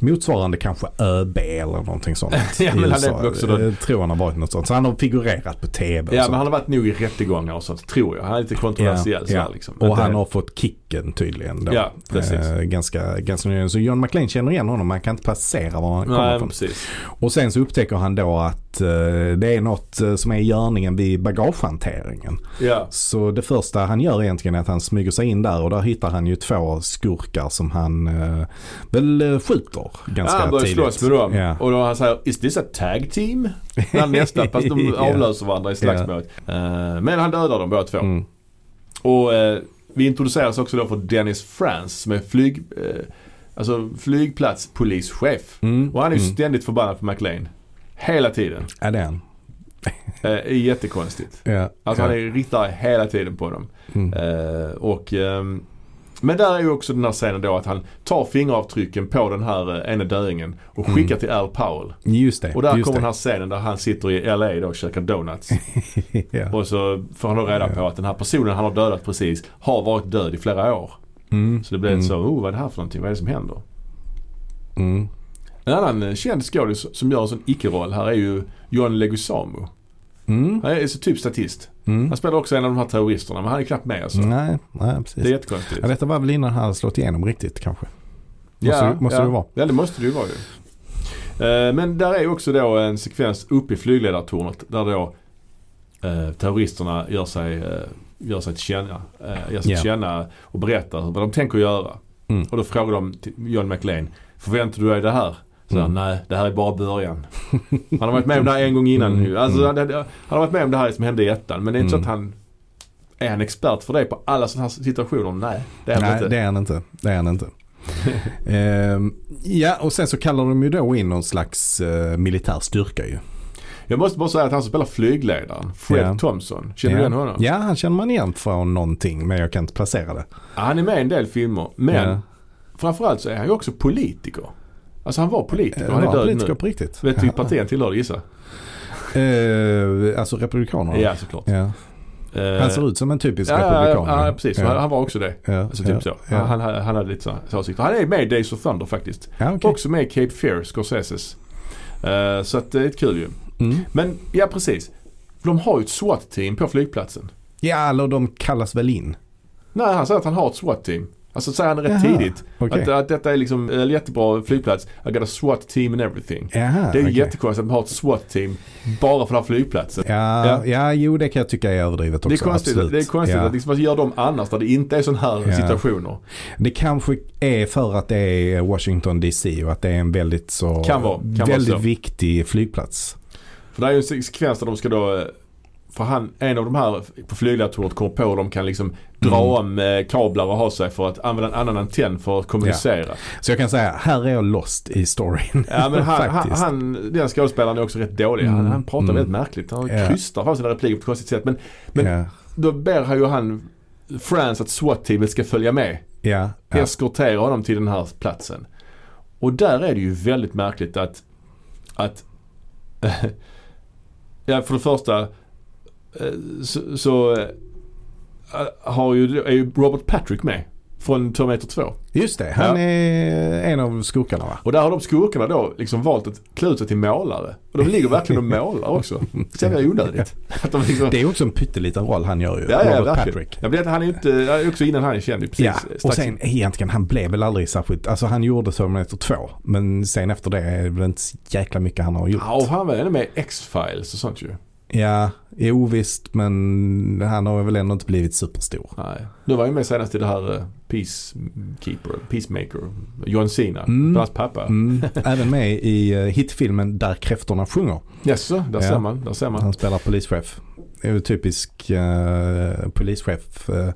Speaker 2: motsvarande kanske ÖB eller någonting sånt.
Speaker 1: Ja,
Speaker 2: i
Speaker 1: men han är
Speaker 2: USA.
Speaker 1: väl också då-
Speaker 2: Jag tror han har varit något sånt. Så han har figurerat på tv och
Speaker 1: Ja,
Speaker 2: sånt.
Speaker 1: men han har varit nog i rättegångar och sånt, tror jag. Han är lite kontroversiell
Speaker 2: Ja,
Speaker 1: sådär
Speaker 2: ja.
Speaker 1: liksom.
Speaker 2: Och
Speaker 1: Att det-
Speaker 2: han har fått kicken tydligen. Då.
Speaker 1: Ja, precis.
Speaker 2: Eh, ganska, ganska nyligen. Så John McLean känner igen honom. Man kan inte passera var han kommer
Speaker 1: Nej,
Speaker 2: från.
Speaker 1: precis.
Speaker 2: Och sen så upptäcker han då att eh, det är något eh, som är i görningen vid bagagehanteringen.
Speaker 1: Ja.
Speaker 2: Så det första han gör egentligen är att han smyger sig in där och där hittar han ju två skurkar som han eh, väl eh, skjuter ganska
Speaker 1: Ja, han börjar
Speaker 2: tidigt.
Speaker 1: slåss med dem.
Speaker 2: Ja.
Speaker 1: Och då han säger Is this a tag team? När nästa, fast de
Speaker 2: Ja.
Speaker 1: avlöser varandra i slagsmålet. Eh, men han dödar dem båda två.
Speaker 2: Mm.
Speaker 1: Och eh, vi introduceras också då för Dennis France som är flyg, eh, alltså flygplatspolischef.
Speaker 2: Mm.
Speaker 1: Och han är ju
Speaker 2: Mm.
Speaker 1: ständigt förbannad på McLean. Hela tiden.
Speaker 2: Ja, det är han.
Speaker 1: Eh, är jättekonstigt.
Speaker 2: Ja.
Speaker 1: Alltså
Speaker 2: ja.
Speaker 1: han är riktigt arg hela tiden på dem.
Speaker 2: Mm.
Speaker 1: Eh, och, ehm, men där är ju också den här scenen då att han tar fingeravtrycken på den här eh, ene döingen och skickar till Al Powell.
Speaker 2: Just det.
Speaker 1: Och där
Speaker 2: Mm. just
Speaker 1: kommer den
Speaker 2: det.
Speaker 1: här scenen där han sitter i LA då och käkar donuts.
Speaker 2: ja.
Speaker 1: Och så får han då reda på att den här personen han har dödat precis har varit död i flera år.
Speaker 2: mm.
Speaker 1: Så det blev
Speaker 2: mm.
Speaker 1: mm. så, oh vad är det här för någonting? Vad är det som händer?
Speaker 2: Mm.
Speaker 1: En annan eh, känd skådis som gör en sån icke-roll här är ju John Leguizamo.
Speaker 2: Mm.
Speaker 1: Han är så typ statist.
Speaker 2: Mm.
Speaker 1: Han spelar också en av de här terroristerna men han är knappt med alltså.
Speaker 2: Nej, nej, precis.
Speaker 1: Det är
Speaker 2: Det...
Speaker 1: jättekonstigt.
Speaker 2: Ja, detta var väl innan han hade slått igenom riktigt kanske. Måste, det- måste
Speaker 1: ja.
Speaker 2: det vara.
Speaker 1: Ja det måste det ju vara ju. Eh, Men där är ju också då en sekvens uppe i flygledartornet där då eh, terroristerna gör sig, eh, gör sig, till, känna, eh, gör sig till
Speaker 2: Ja.
Speaker 1: känna och berättar hur- vad de tänker göra.
Speaker 2: Mm.
Speaker 1: Och då frågar de till John McLean, förväntar du dig det här? Så
Speaker 2: Mm.
Speaker 1: Nej, det här är bara början. Han har varit med om det här en gång innan.
Speaker 2: Mm.
Speaker 1: nu. Alltså,
Speaker 2: Mm.
Speaker 1: han, han har varit med om det här som hände i ettan. Men det är inte
Speaker 2: Mm.
Speaker 1: så att han är han expert för det på alla sådana här situationer. Nej, det är han
Speaker 2: Nej,
Speaker 1: inte.
Speaker 2: det är han inte. Det är han inte. Ehm, ja, och sen så kallar de ju då in någon slags eh, militär styrka ju.
Speaker 1: Jag måste bara säga att han som spelar flygledaren, Fred
Speaker 2: Ja.
Speaker 1: Thompson. Känner
Speaker 2: ja.
Speaker 1: du igen honom?
Speaker 2: Ja, han känner man igen från någonting, men jag kan inte placera det.
Speaker 1: Ja, Han är med i en del filmer. Men
Speaker 2: Ja.
Speaker 1: framförallt så är han ju också politiker. Alltså han var politiker,
Speaker 2: Eh,
Speaker 1: han är
Speaker 2: var
Speaker 1: död
Speaker 2: politiker
Speaker 1: nu.
Speaker 2: på riktigt.
Speaker 1: Vet du vilket parti han tillhör gissa?
Speaker 2: Eh, alltså republikanerna?
Speaker 1: Ja såklart.
Speaker 2: Ja.
Speaker 1: Eh,
Speaker 2: Han ser ut som en typisk
Speaker 1: ja,
Speaker 2: republikan.
Speaker 1: Ja, ja precis. Han, han var också det.
Speaker 2: ja,
Speaker 1: Alltså typ
Speaker 2: ja,
Speaker 1: så.
Speaker 2: Ja.
Speaker 1: Han, han, han hade lite sådana så åsikter. Han är med i Days of Thunder faktiskt.
Speaker 2: Ja, okej.
Speaker 1: Också med i Cape Fear, Scorseses. Eh, så att det är ett kul ju.
Speaker 2: Mm.
Speaker 1: Men ja precis. De har ju ett SWAT-team på flygplatsen.
Speaker 2: Ja, eller de kallas väl in?
Speaker 1: Nej, han säger att han har ett SWAT-team. Alltså säger han rätt
Speaker 2: Jaha,
Speaker 1: tidigt.
Speaker 2: okej.
Speaker 1: Att, att detta är liksom en jättebra flygplats. I got a SWAT-team and everything.
Speaker 2: Jaha,
Speaker 1: Det är ju
Speaker 2: Ah, okej.
Speaker 1: jättekonstigt att de har ett SWAT-team bara för den här flygplatsen.
Speaker 2: Ja, ja.
Speaker 1: Ja.
Speaker 2: jo det kan jag tycka är överdrivet också.
Speaker 1: Det är konstigt,
Speaker 2: absolut.
Speaker 1: det är konstigt
Speaker 2: ja.
Speaker 1: att liksom, vad gör de annars när det inte är sådana här
Speaker 2: Ja.
Speaker 1: situationer?
Speaker 2: Det kanske är för att det är Washington DC och att det är en väldigt så
Speaker 1: Kan vara, kan vara
Speaker 2: väldigt
Speaker 1: så.
Speaker 2: viktig flygplats.
Speaker 1: För det är ju en sekvens där de ska då eh, för han, en av de här på flyglaboratoriet kommer på hur de kan liksom
Speaker 2: Mm.
Speaker 1: dra om eh, kablar och ha sig för att använda en annan antenn för att kommunicera.
Speaker 2: Så jag kan säga, här är jag lost i storyn.
Speaker 1: Ja, men han, han,
Speaker 2: Faktiskt.
Speaker 1: han, den skådespelaren är också rätt dålig. Han,
Speaker 2: Mm,
Speaker 1: han pratar
Speaker 2: mm.
Speaker 1: väldigt märkligt. Han
Speaker 2: Ja.
Speaker 1: krystar fram sina repliker på ett konstigt sätt. Men men-
Speaker 2: ja,
Speaker 1: då ber han ju han France att SWAT-teamet ska följa med.
Speaker 2: ja, ja.
Speaker 1: Eskortera honom till den här platsen. Och där är det ju väldigt märkligt att... att ja, för det första eh, så, så eh, har ju, är ju Robert Patrick med från Terminator 2.
Speaker 2: Just det, han
Speaker 1: Ja.
Speaker 2: är en av skurkarna va?
Speaker 1: Och där har de skurkarna då liksom valt att klä ut sig till målare. Och de ligger verkligen och målar också. Så jävla onödigt. Att de liksom,
Speaker 2: Det är också en pytteliten roll han gör ju,
Speaker 1: ja, ja,
Speaker 2: Robert
Speaker 1: verkligen.
Speaker 2: Patrick.
Speaker 1: Ja, men det, han är ju inte, ja, också innan han är känd. Precis,
Speaker 2: Ja, och
Speaker 1: Strax-
Speaker 2: sen egentligen han blev väl aldrig särskilt, alltså han gjorde Terminator 2 men sen efter det är det väl inte så jäkla mycket han har gjort.
Speaker 1: Ja, och han var ändå med i X-Files och sånt ju.
Speaker 2: Ja, jo visst men han har väl ändå inte blivit superstor.
Speaker 1: Nej. Nu var jag med senast i det här eh, Peacekeeper, Peacemaker, John Cena,
Speaker 2: Mm.
Speaker 1: hans pappa.
Speaker 2: Mm. Även med i eh, hitfilmen Där kräftorna sjunger.
Speaker 1: Jaså, där
Speaker 2: Ja.
Speaker 1: ser man, där ser man.
Speaker 2: Han spelar polischef. Det är ju typisk eh, polischef eh,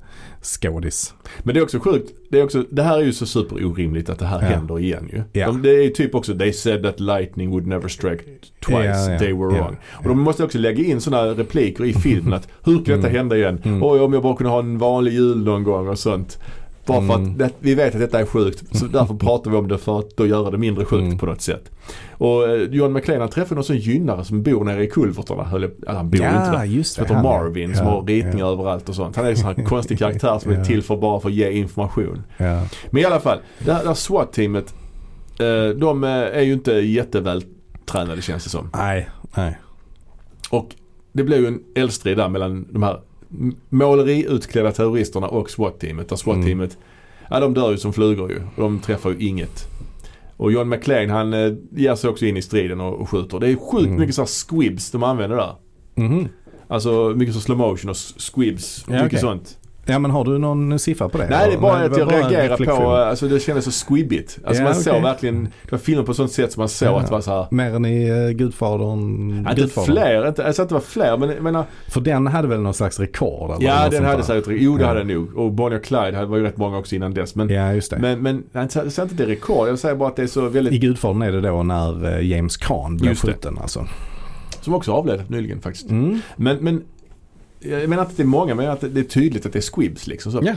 Speaker 2: skådis.
Speaker 1: Men det är också sjukt, det, är också, det här är ju så superorimligt att det här
Speaker 2: Ja.
Speaker 1: händer igen ju.
Speaker 2: Ja.
Speaker 1: De, det är ju typ också, they said that lightning would never strike twice,
Speaker 2: Ja, ja,
Speaker 1: they were
Speaker 2: ja,
Speaker 1: wrong.
Speaker 2: ja.
Speaker 1: Och de måste också lägga in sådana repliker i filmen att hur kan detta
Speaker 2: Mm.
Speaker 1: hända igen?
Speaker 2: Mm.
Speaker 1: Oj, om jag bara kunde ha en vanlig jul någon gång och sånt. Bara för
Speaker 2: Mm.
Speaker 1: att det, vi vet att detta är sjukt. Så därför pratar vi om det för att då göra det mindre sjukt
Speaker 2: Mm.
Speaker 1: på något sätt. Och eh, John McLean han träffade någon sån gynnare som bor nere i Kulvertarna. höll jag- Eller han bor inte där.
Speaker 2: just
Speaker 1: Som heter
Speaker 2: han, ja.
Speaker 1: Marvin som
Speaker 2: Ja,
Speaker 1: har ritningar överallt och sånt. Han är en sån här konstig karaktär som
Speaker 2: Ja.
Speaker 1: är till för bara för att ge information.
Speaker 2: Ja,
Speaker 1: Men i alla fall, det här, det här SWAT-teamet. eh, De eh, är ju inte jätteväl tränade känns det som.
Speaker 2: Nej, nej.
Speaker 1: Och det blev ju en eldstrid där mellan de här m- måleriutklädda terroristerna och SWAT-teamet. Där
Speaker 2: Mm.
Speaker 1: SWAT-teamet, ja de dör ju som flugor ju. Och de träffar ju inget. Och John McClane han eh, ger sig också in i striden och, och skjuter. Det är sjukt
Speaker 2: Mm.
Speaker 1: mycket så här squibs de använder där.
Speaker 2: Mhm.
Speaker 1: Alltså mycket så slow motion och s- squibs.
Speaker 2: Ja,
Speaker 1: mycket
Speaker 2: okej.
Speaker 1: sånt.
Speaker 2: Ja men har du någon siffra på det?
Speaker 1: Nej det är bara
Speaker 2: det
Speaker 1: att
Speaker 2: var
Speaker 1: jag
Speaker 2: bara en
Speaker 1: reagerar på,
Speaker 2: reflektion.
Speaker 1: eh, alltså det kändes så squibbigt. Alltså
Speaker 2: Ja,
Speaker 1: man såg
Speaker 2: okej.
Speaker 1: verkligen, det var filmen på ett sånt sätt som man såg
Speaker 2: Ja.
Speaker 1: att det var så här.
Speaker 2: Mer än i eh, Gudfadern.
Speaker 1: Ja, Inte
Speaker 2: Gudfadern.
Speaker 1: fler, inte, alltså att det var fler men jag menar
Speaker 2: För den hade väl någon slags rekord? Eller
Speaker 1: Ja
Speaker 2: något
Speaker 1: den
Speaker 2: sånt
Speaker 1: hade
Speaker 2: där.
Speaker 1: säkert, jo det
Speaker 2: Ja.
Speaker 1: hade den nog. Och Bonnie och Clyde hade- var ju rätt många också innan dess. Men,
Speaker 2: Ja just det.
Speaker 1: men, men jag säger inte det är rekord, jag säger bara att det är så
Speaker 2: I
Speaker 1: väldigt,
Speaker 2: Gudfadern är det då när eh, James Caan blev
Speaker 1: Just det.
Speaker 2: skjuten alltså.
Speaker 1: som också avled nyligen faktiskt.
Speaker 2: Mm.
Speaker 1: Men, men jag menar inte att det är många, men jag menar att det är tydligt att det är squibs liksom. Så.
Speaker 2: Jaha.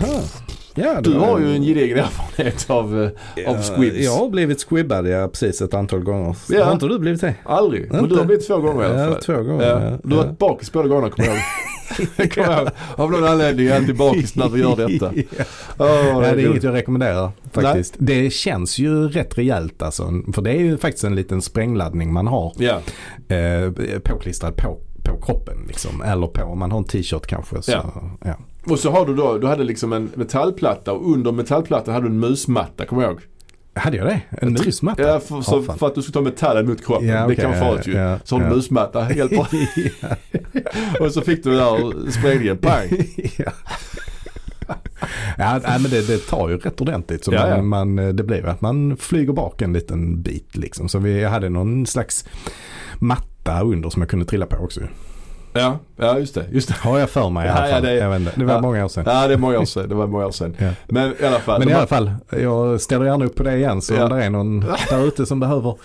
Speaker 2: Ja, det
Speaker 1: Du
Speaker 2: var-
Speaker 1: har ju en gedigen erfarenhet av, eh, av squibs.
Speaker 2: Jag har blivit squibbad ja, precis ett antal gånger.
Speaker 1: Ja.
Speaker 2: Har inte du blivit det?
Speaker 1: Aldrig. Men
Speaker 2: Inte.
Speaker 1: du har blivit två gånger i alla fall.
Speaker 2: Ja, två gånger.
Speaker 1: Ja. Du har varit bakis båda gångerna kommer jag ihåg. Det kommer jag ihåg. Av någon anledning är jag alltid bakis när vi gör detta. Åh,
Speaker 2: Ja, det är
Speaker 1: roligt.
Speaker 2: inget jag rekommenderar faktiskt. Det känns ju rätt rejält alltså. För det är ju faktiskt en liten sprängladdning man har
Speaker 1: Ja,
Speaker 2: eh, påklistrad på, på kroppen. Liksom. Eller på, om man har en t-shirt kanske. Så, ja.
Speaker 1: Ja. och så har du då, du hade liksom en metallplatta och under metallplattan hade du en musmatta, kommer jag ihåg.
Speaker 2: Hade jag det? En musmatta?
Speaker 1: Ja, för, så,
Speaker 2: Ja, fan.
Speaker 1: för att du ska ta metallen mot kroppen.
Speaker 2: Ja, okej,
Speaker 1: det kan vara
Speaker 2: ja,
Speaker 1: farligt ju.
Speaker 2: ja,
Speaker 1: så har du
Speaker 2: ja.
Speaker 1: musmatta, helt bra. och så fick du den där sprängningen, pang.
Speaker 2: ja. ja, nej, men det, det tar ju rätt ordentligt. Så
Speaker 1: Ja,
Speaker 2: man,
Speaker 1: ja.
Speaker 2: Man, eh, det blir att man flyger bak en liten bit liksom. Så vi hade någon slags matta under som jag kunde trilla på också.
Speaker 1: Ja, ja just det. Just det.
Speaker 2: Har jag för mig i
Speaker 1: Ja,
Speaker 2: alla fall.
Speaker 1: ja, det-
Speaker 2: jag vet inte. det var
Speaker 1: ja.
Speaker 2: många år sedan.
Speaker 1: Ja, det är många år sedan. Det var många år sedan.
Speaker 2: Ja.
Speaker 1: Men i alla fall.
Speaker 2: Men
Speaker 1: de
Speaker 2: i
Speaker 1: här-
Speaker 2: alla fall, jag ställer gärna upp på det igen. Så
Speaker 1: Ja.
Speaker 2: om det är någon där ute som behöver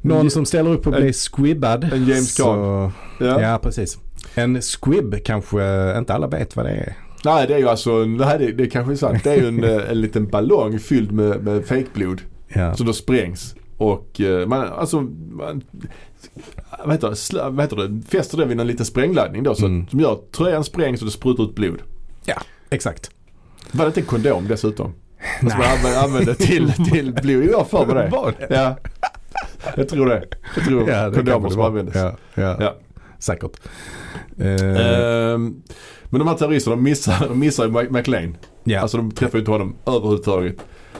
Speaker 2: någon som ställer upp och blir squibbad.
Speaker 1: en James
Speaker 2: så-
Speaker 1: Caan.
Speaker 2: Ja.
Speaker 1: ja.
Speaker 2: precis. En squibb kanske inte alla vet vad det är.
Speaker 1: Nej, det är ju alltså, en- nej, det, det kanske är sant. Det är ju en, eh, en liten ballong fylld med, med fejkblod
Speaker 2: Ja.
Speaker 1: som då sprängs. Och eh, man, alltså, man, vad, heter det, Slä- vad heter det, fäster det vid en liten sprängladdning då så
Speaker 2: Mm.
Speaker 1: att, som gör att tröjan sprängs och det sprutar ut blod.
Speaker 2: Exakt.
Speaker 1: Var det inte en kondom dessutom? Som man
Speaker 2: Nej.
Speaker 1: anvä- använde till, till blod. Jag har för mig det.
Speaker 2: Var
Speaker 1: Ja. Jag tror det. Jag tror
Speaker 2: Ja, det kan
Speaker 1: kondomer
Speaker 2: det
Speaker 1: som
Speaker 2: vara.
Speaker 1: användes.
Speaker 2: Ja, ja.
Speaker 1: Ja.
Speaker 2: Säkert. Eh,
Speaker 1: Ehm, men de här terroristerna de missar, de missar ju Mc- McLean.
Speaker 2: ja.
Speaker 1: Alltså de träffar ju inte honom överhuvudtaget.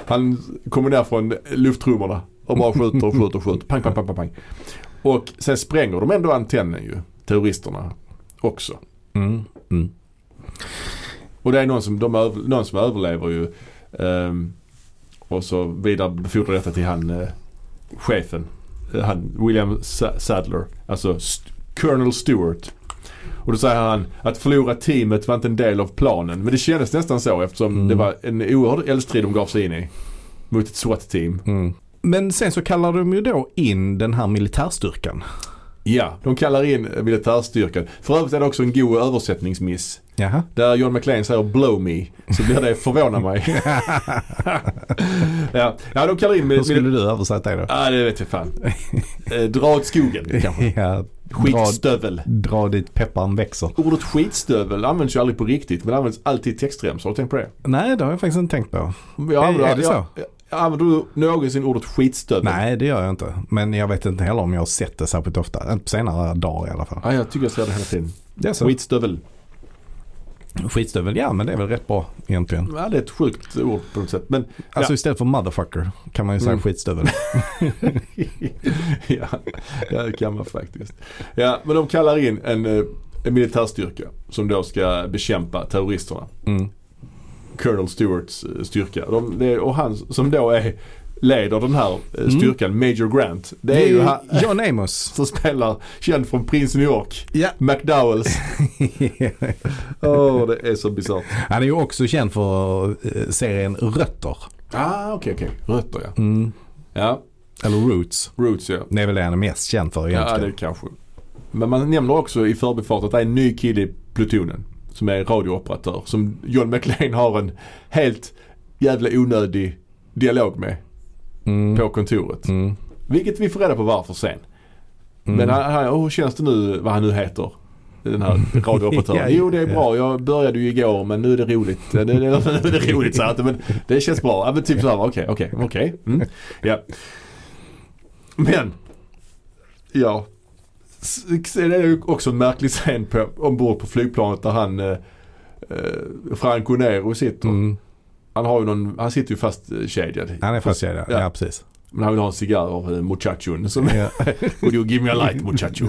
Speaker 1: Han kommer ner från lufttrummorna och bara skjuter och skjuter och skjuter. Pang, pang, pang, pang, pang. Och sen spränger de ändå antennen ju, terroristerna också.
Speaker 2: mm, mm.
Speaker 1: Och det är någon som, de över, någon som överlever ju. Ehm, och så vidarebefordrar detta till han eh, chefen. Eh, Han, William Sa- Sadler. Alltså St- Colonel Stewart. Och då säger han att förlora teamet var inte en del av planen. Men det kändes nästan så eftersom
Speaker 2: Mm.
Speaker 1: det var en oerhörd eldstrid de gav sig in i. Mot ett SWAT-team.
Speaker 2: mm. Men sen så kallar de ju då in den här militärstyrkan.
Speaker 1: Ja, de kallar in militärstyrkan. För övrigt är det också en god översättningsmiss.
Speaker 2: Jaha.
Speaker 1: Där John McClane säger blow me så blir det förvåna mig. ja. ja, de kallar in
Speaker 2: Hur
Speaker 1: med,
Speaker 2: skulle
Speaker 1: med,
Speaker 2: du översätta det då?
Speaker 1: Ja, det vet jag fan. Eh, dra åt skogen kanske.
Speaker 2: Ja, dra,
Speaker 1: Skitstövel.
Speaker 2: dra dit pepparn växer.
Speaker 1: Ordet skitstövel används ju aldrig på riktigt men används alltid i textremsor. Har du tänkt på det?
Speaker 2: Nej, det har jag faktiskt inte tänkt på.
Speaker 1: Jag använder,
Speaker 2: är det så?
Speaker 1: Jag, jag, använder du någonsin ordet skitstövel?
Speaker 2: Nej, det gör jag inte. Men jag vet inte heller om jag har sett det särskilt ofta. Inte på senare dagar i alla fall.
Speaker 1: Ja, jag tycker jag ser det hela tiden.
Speaker 2: Det är så.
Speaker 1: Skitstövel.
Speaker 2: Skitstövel, ja men det är väl rätt bra egentligen.
Speaker 1: Ja, det är ett sjukt ord på något sätt. Men
Speaker 2: Alltså istället för motherfucker kan man ju säga
Speaker 1: Mm.
Speaker 2: skitstövel.
Speaker 1: ja, det kan man faktiskt. Ja, men de kallar in en, eh, en militärstyrka som då ska bekämpa terroristerna.
Speaker 2: Mm.
Speaker 1: Colonel Stewarts eh, styrka. De, det, och han som då är, leder den här
Speaker 2: Mm.
Speaker 1: eh, styrkan, Major Grant. Det är ju han
Speaker 2: John Amos.
Speaker 1: som spelar, känd från Prins New York,
Speaker 2: Ja. Oh.
Speaker 1: McDowells. Åh, det är så bisarrt.
Speaker 2: Han är ju också känd för eh, serien Rötter.
Speaker 1: Ah, okej, okej. Rötter ja.
Speaker 2: Mm.
Speaker 1: Ja,
Speaker 2: Eller Roots.
Speaker 1: Roots ja.
Speaker 2: Det är väl det han är mest känd
Speaker 1: Ja,
Speaker 2: för egentligen.
Speaker 1: det kanske. Men man nämner också i förbifart att det är en ny kille i plutonen som är radiooperatör. Som John McLean har en helt jävla onödig dialog med
Speaker 2: Mm.
Speaker 1: på kontoret.
Speaker 2: Mm.
Speaker 1: Vilket vi får reda på varför sen. Men han, han, oh, hur känns det nu, vad han nu heter? Den här radiooperatören.
Speaker 2: Ja,
Speaker 1: jo det är
Speaker 2: ja.
Speaker 1: bra, jag började ju igår men nu är det roligt. Nu är det, nu är det roligt så att, men det känns bra. Ja, men typ så här, okej, okej, okej. Mm. Ja. Men, ja. S- Sen är det ju också en märklig scen på, ombord på flygplanet där han eh, eh, Franco Nero sitter.
Speaker 2: Mm.
Speaker 1: Han, har ju någon, han sitter ju eh, fastkedjad.
Speaker 2: Han är fastkedjad, ja.
Speaker 1: Ja.
Speaker 2: ja precis.
Speaker 1: Men han vill ha en cigarr av eh, muchachon som
Speaker 2: Ja.
Speaker 1: Would you give me a light muchacho?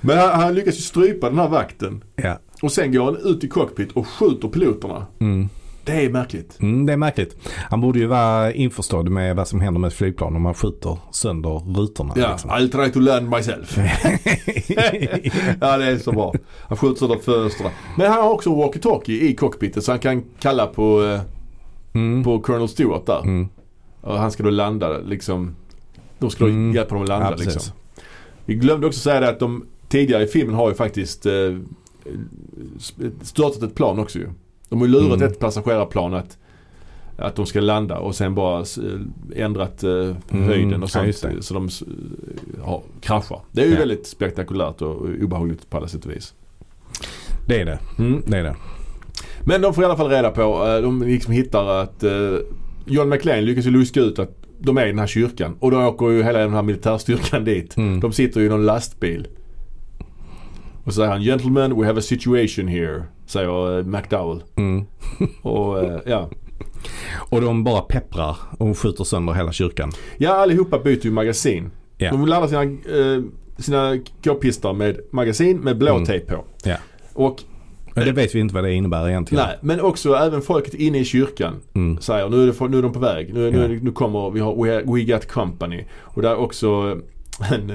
Speaker 1: Men han, han lyckas ju strypa den här vakten.
Speaker 2: ja.
Speaker 1: Och sen går han ut i cockpit och skjuter piloterna.
Speaker 2: Mm.
Speaker 1: Det är märkligt.
Speaker 2: Mm, det är märkligt. Han borde ju vara införstådd med vad som händer med ett flygplan om man skjuter sönder rutorna.
Speaker 1: Ja,
Speaker 2: liksom.
Speaker 1: I'll try to learn myself. ja, det är så bra. Han skjuter sönder fönstren. Men han har också en walkie-talkie i cockpiten så han kan kalla på, eh,
Speaker 2: Mm.
Speaker 1: på Colonel Stewart där.
Speaker 2: Mm.
Speaker 1: Och han ska då landa liksom. De ska då
Speaker 2: Mm.
Speaker 1: hjälpa dem att landa
Speaker 2: Ja, precis.
Speaker 1: liksom. Vi glömde också säga det att de tidigare i filmen har ju faktiskt eh, störtat ett plan också ju. De har ju lurat
Speaker 2: Mm.
Speaker 1: ett passagerarplan att, att de ska landa och sen bara eh, ändrat eh, höjden
Speaker 2: Mm. ja,
Speaker 1: och sånt.
Speaker 2: just det.
Speaker 1: så de eh, har, kraschar. Det är ju
Speaker 2: Ja.
Speaker 1: väldigt spektakulärt och obehagligt på alla sätt och vis.
Speaker 2: Det är det. Det är det.
Speaker 1: Men de får i alla fall reda på, eh, de liksom hittar att eh, John McLean lyckas ju luska ut att de är i den här kyrkan. Och då åker ju hela den här militärstyrkan dit.
Speaker 2: Mm.
Speaker 1: De sitter ju i någon lastbil. Och så säger han “Gentlemen, we have a situation here”. Säger eh, McDowell.
Speaker 2: Mm.
Speaker 1: Och eh, ja.
Speaker 2: Och de bara pepprar och skjuter sönder hela kyrkan.
Speaker 1: Ja, allihopa byter ju magasin.
Speaker 2: Ja.
Speaker 1: De laddar sina, eh, sina k-pistar med magasin med blå
Speaker 2: Mm.
Speaker 1: tejp på.
Speaker 2: Ja.
Speaker 1: Och
Speaker 2: Men det vet vi inte vad det innebär egentligen.
Speaker 1: nej, men också även folket inne i kyrkan.
Speaker 2: Mm.
Speaker 1: säger nu är, det, nu är de på väg. Nu, nu,
Speaker 2: Ja.
Speaker 1: nu kommer vi har we, we Got Company. Och där är också en,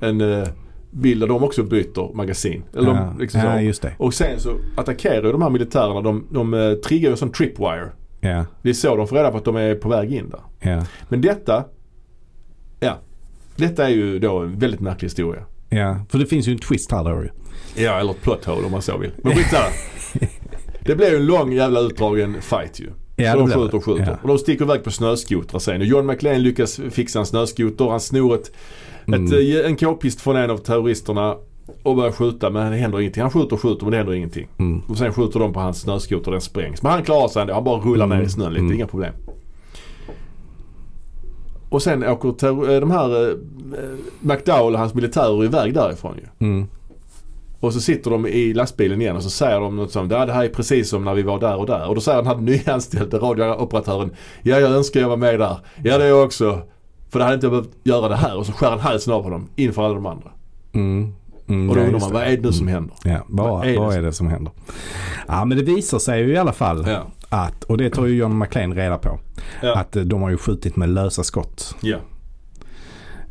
Speaker 1: en eh, bild där de också byter magasin. Eller
Speaker 2: Ja.
Speaker 1: de, liksom så.
Speaker 2: ja, just det.
Speaker 1: Och sen så attackerar ju de här militärerna. De, de eh, triggar ju en sån tripwire.
Speaker 2: Ja,
Speaker 1: Det är så de får reda på att de är på väg in där.
Speaker 2: ja,
Speaker 1: Men detta, ja. Detta är ju då en väldigt märklig historia.
Speaker 2: ja. För det finns ju en twist här då ju.
Speaker 1: Ja, eller ett plot hole om man så vill. Men skitsamma. Det blev ju en lång jävla utdragen fight ju.
Speaker 2: Ja,
Speaker 1: så de
Speaker 2: det blir
Speaker 1: skjuter och
Speaker 2: det.
Speaker 1: skjuter.
Speaker 2: Ja.
Speaker 1: Och de sticker iväg på snöskotrar sen. Och John McClane lyckas fixa en snöskoter. Han snor ett, ett,
Speaker 2: Mm.
Speaker 1: eh, en k-pist från en av terroristerna och börjar skjuta men det händer ingenting. Han skjuter och skjuter men det händer ingenting.
Speaker 2: Mm.
Speaker 1: Och sen skjuter de på hans snöskoter och den sprängs. Men han klarar sig ändå. Han bara rullar ner i snön lite.
Speaker 2: Mm.
Speaker 1: Inga problem. Och sen åker terror- eh, de här eh, McDowell och hans militärer iväg därifrån ju.
Speaker 2: Mm.
Speaker 1: Och så sitter de i lastbilen igen och så säger de något sånt. Ja, det här är precis som när vi var där och där. Och då säger den här nyanställde radiooperatören. Ja, jag önskar jag var med där. Ja, det är jag också. För då hade inte jag behövt göra det här. Och så skär han halsen av honom inför alla de andra.
Speaker 2: Mm. Mm.
Speaker 1: Och då
Speaker 2: Ja,
Speaker 1: undrar
Speaker 2: just
Speaker 1: man, vad är det Mm. nu som händer?
Speaker 2: Ja, vad, vad, är, det? som händer? Ja, men det visar sig ju i alla fall
Speaker 1: Ja.
Speaker 2: att, och det tar ju John McClane reda på,
Speaker 1: Ja.
Speaker 2: att eh, de har ju skjutit med lösa skott.
Speaker 1: Ja,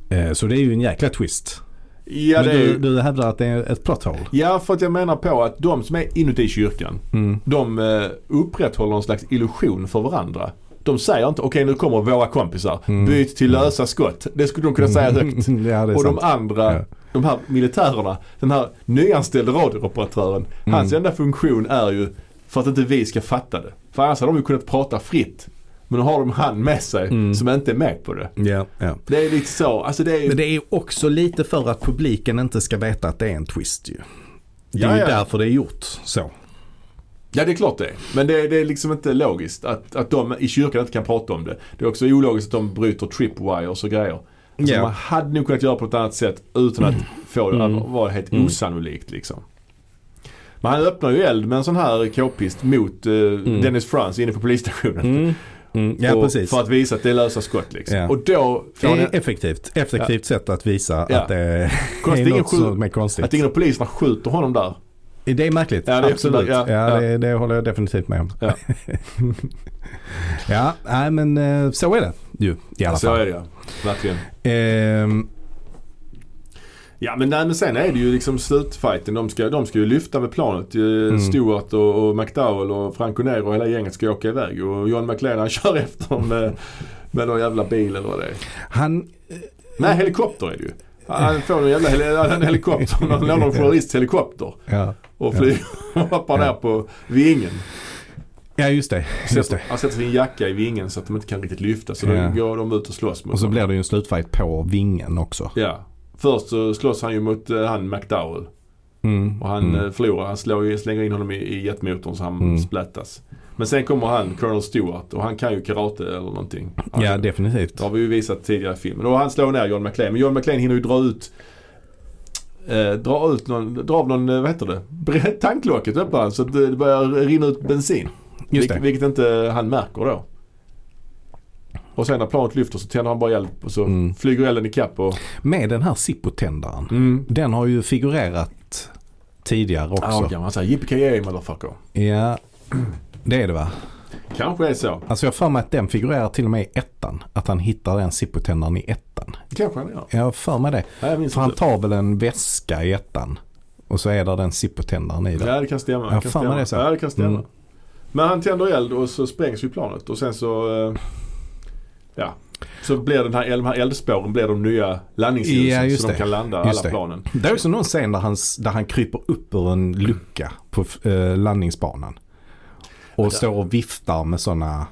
Speaker 2: Eh, Så det är ju en jäkla twist.
Speaker 1: ja
Speaker 2: men
Speaker 1: det är
Speaker 2: du,
Speaker 1: ju...
Speaker 2: du hävdar att det är ett plot hole?
Speaker 1: Ja, för att jag menar på att de som är inuti kyrkan,
Speaker 2: Mm.
Speaker 1: de eh, upprätthåller någon slags illusion för varandra. De säger inte, okej nu kommer våra kompisar,
Speaker 2: Mm.
Speaker 1: byt till lösa skott. Det skulle de kunna säga högt.
Speaker 2: ja, det är
Speaker 1: Och de
Speaker 2: sant.
Speaker 1: andra,
Speaker 2: Ja.
Speaker 1: de här militärerna, den här nyanställde radiooperatören.
Speaker 2: Mm.
Speaker 1: Hans enda funktion är ju för att inte vi ska fatta det. För annars hade de ju kunnat prata fritt. Men nu har de han med sig
Speaker 2: Mm.
Speaker 1: som inte är med på det.
Speaker 2: Ja, ja.
Speaker 1: Det är lite så, alltså det är ju...
Speaker 2: Men det är ju också lite för att publiken inte ska veta att det är en twist ju. Det är
Speaker 1: Ja,
Speaker 2: ju
Speaker 1: ja.
Speaker 2: därför det är gjort så.
Speaker 1: Ja det är klart det är. Men det, det är liksom inte logiskt att, att de i kyrkan inte kan prata om det. Det är också ologiskt att de bryter tripwires och grejer. Alltså,
Speaker 2: Ja.
Speaker 1: Man hade nog kunnat göra på ett annat sätt utan att få det att
Speaker 2: Mm.
Speaker 1: vara helt
Speaker 2: Mm.
Speaker 1: osannolikt liksom. Men han öppnar ju eld med en sån här k-pist mot eh, Dennis France inne på polisstationen.
Speaker 2: Mm. Ja,
Speaker 1: Mm, och,
Speaker 2: precis.
Speaker 1: För att visa att det är lösa skott liksom.
Speaker 2: Ja.
Speaker 1: Och då
Speaker 2: Det
Speaker 1: får han
Speaker 2: är effektivt. Effektivt sätt att visa
Speaker 1: Ja.
Speaker 2: att det är
Speaker 1: Konstigt, ingen
Speaker 2: något
Speaker 1: skjut-
Speaker 2: som är konstigt.
Speaker 1: att ingen av poliserna skjuter honom där.
Speaker 2: Det är märkligt.
Speaker 1: Ja, det är också
Speaker 2: Absolut.
Speaker 1: märk- ja,
Speaker 2: ja,
Speaker 1: ja.
Speaker 2: Det, det håller jag definitivt med om.
Speaker 1: Ja.
Speaker 2: ja, nej men eh, så är det ju i alla
Speaker 1: Så
Speaker 2: fall.
Speaker 1: är det ja. Verkligen.
Speaker 2: Ehm,
Speaker 1: Ja men, nej, men sen är det ju liksom slutfighten. De ska, de ska ju lyfta med planet. Mm. Stewart och, och McDowell och Franco Nero och hela gänget ska åka iväg. Och John McLean han kör efter dem med, med någon jävla bil eller vad det är.
Speaker 2: han,
Speaker 1: Nej helikopter är det ju. Han får en jävla heli- en helikopter. Någon, någon journalists helikopter.
Speaker 2: ja.
Speaker 1: Och flyger och hoppar ner på vingen.
Speaker 2: ja just det. Just
Speaker 1: Sätter,
Speaker 2: det.
Speaker 1: han sätter sin jacka i vingen så att de inte kan riktigt lyfta. Så
Speaker 2: Ja.
Speaker 1: då går de ut och slåss mot
Speaker 2: Och så
Speaker 1: honom.
Speaker 2: blir det ju en slutfight på vingen också.
Speaker 1: Ja. Först så slåss han ju mot eh, han McDowell.
Speaker 2: Mm.
Speaker 1: Och han
Speaker 2: mm.
Speaker 1: eh, förlorar. Han slår, ju- slänger in honom i, i jetmotorn så han
Speaker 2: Mm.
Speaker 1: splattas. Men sen kommer han, Colonel Stewart, och han kan ju karate eller någonting. Han,
Speaker 2: Ja definitivt.
Speaker 1: Det har vi ju visat tidigare i filmen. Och han slår ner John McClane. Men John McClane hinner ju dra ut Eh, dra ut någon, dra av någon, eh, vad heter det? Bre- Tanklocket öppnar han så att det det börjar rinna ut bensin.
Speaker 2: Just
Speaker 1: Vil-
Speaker 2: det.
Speaker 1: Vilket inte han märker då. Och sen när planet lyfter så tänder han bara eld och så
Speaker 2: Mm.
Speaker 1: flyger elden ikapp och...
Speaker 2: Med den här Zippo-tändaren.
Speaker 1: Mm.
Speaker 2: Den har ju figurerat tidigare också.
Speaker 1: Argan, han säger yippee motherfucker.
Speaker 2: Ja, det är det va?
Speaker 1: Kanske är så.
Speaker 2: Alltså jag har för mig att den figurerar till och med i ettan. Att han hittar den Zippo-tändaren i ettan.
Speaker 1: Kanske han gör.
Speaker 2: Jag har för mig det.
Speaker 1: Nej, jag minns
Speaker 2: För han
Speaker 1: inte.
Speaker 2: tar väl en väska i ettan. Och så är där den Zippo-tändaren i den.
Speaker 1: Ja det kan stämma.
Speaker 2: Ja,
Speaker 1: kan
Speaker 2: fan,
Speaker 1: stämma.
Speaker 2: det är så.
Speaker 1: Ja, det kan stämma.
Speaker 2: Mm.
Speaker 1: Men han tänder eld och så sprängs ju planet och sen så... eh, Ja. Så blir den här, eld- de här eldspåren blir de nya landningsljusen
Speaker 2: Ja, just
Speaker 1: så de
Speaker 2: det.
Speaker 1: kan landa
Speaker 2: Just
Speaker 1: alla
Speaker 2: det.
Speaker 1: planen.
Speaker 2: Det är också någon scen där han, där han kryper upp ur en lucka på eh, landningsbanan. Och står och viftar med sådana...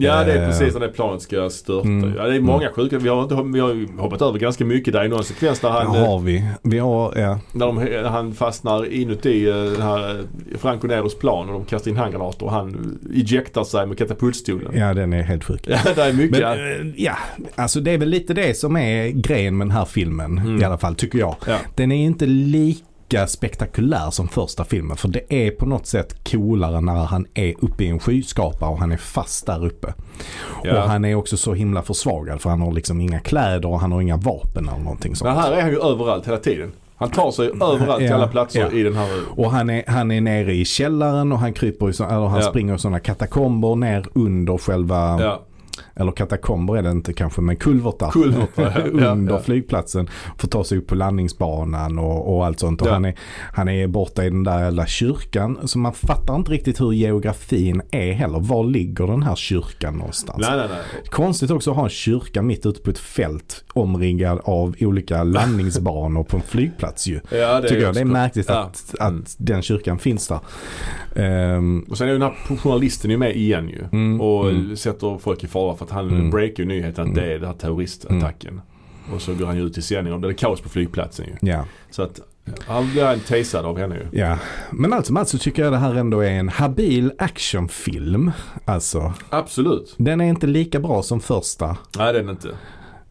Speaker 1: Ja det är
Speaker 2: Eh.
Speaker 1: precis när det planet ska störta.
Speaker 2: Mm.
Speaker 1: Ja, det är många sjuka. Vi har, inte, vi har ju hoppat över ganska mycket där i någon sekvens där
Speaker 2: Det
Speaker 1: han, eh,
Speaker 2: har vi. Vi har... Ja.
Speaker 1: när de, när han fastnar inuti eh, den här eh, Franco Neros plan och de kastar in handgranater och han eh, ejectar sig med katapultstolen. Ja.
Speaker 2: ja, den är helt sjuk.
Speaker 1: det är mycket.
Speaker 2: Men
Speaker 1: ja.
Speaker 2: eh, ja, alltså det är väl lite det som är grejen med den här filmen i alla fall tycker jag.
Speaker 1: Mm. Ja.
Speaker 2: Den är inte lika spektakulär som första filmen för det är på något sätt coolare när han är uppe i en skyskrapa och han är fast där uppe.
Speaker 1: Ja.
Speaker 2: Och han är också så himla försvagad för han har liksom inga kläder och han har inga vapen eller någonting sånt.
Speaker 1: Men här är han ju överallt hela tiden. Han tar sig överallt till
Speaker 2: Mm. Ja,
Speaker 1: alla platser
Speaker 2: ja.
Speaker 1: i den här
Speaker 2: Och han är, han är nere i källaren och han kryper i så, eller han
Speaker 1: Ja.
Speaker 2: springer i sådana katakomber ner under själva
Speaker 1: Ja,
Speaker 2: eller katakomber är det inte kanske, men kulvertar
Speaker 1: Kulvertar, ja, ja,
Speaker 2: under
Speaker 1: ja.
Speaker 2: flygplatsen. För att ta sig upp på landningsbanan och, och allt sånt. Och
Speaker 1: Ja.
Speaker 2: han, är, han är borta i den där jävla kyrkan. Så man fattar inte riktigt hur geografin är heller. Var ligger den här kyrkan någonstans?
Speaker 1: Nej, nej, nej.
Speaker 2: Konstigt också att ha en kyrka mitt ute på ett fält omringad av olika landningsbanor på en flygplats ju.
Speaker 1: Ja, det
Speaker 2: Tycker
Speaker 1: är
Speaker 2: jag. Det
Speaker 1: också-
Speaker 2: är märkligt
Speaker 1: Ja. Mm.
Speaker 2: att, att den kyrkan finns där. Ehm,
Speaker 1: Och sen är ju den här journalisten ju med igen ju.
Speaker 2: Mm,
Speaker 1: Och
Speaker 2: mm.
Speaker 1: sätter folk i fara för att han
Speaker 2: Mm.
Speaker 1: breakar ju nyheten att det är den här terroristattacken. Och så går han ju ut i sändning och det är kaos på flygplatsen ju.
Speaker 2: ja.
Speaker 1: Så att han blir en tasad av henne ju.
Speaker 2: Ja, men allt som allt så tycker jag det här ändå är en habil actionfilm. Alltså,
Speaker 1: Absolut.
Speaker 2: den är inte lika bra som första.
Speaker 1: Nej det är den inte.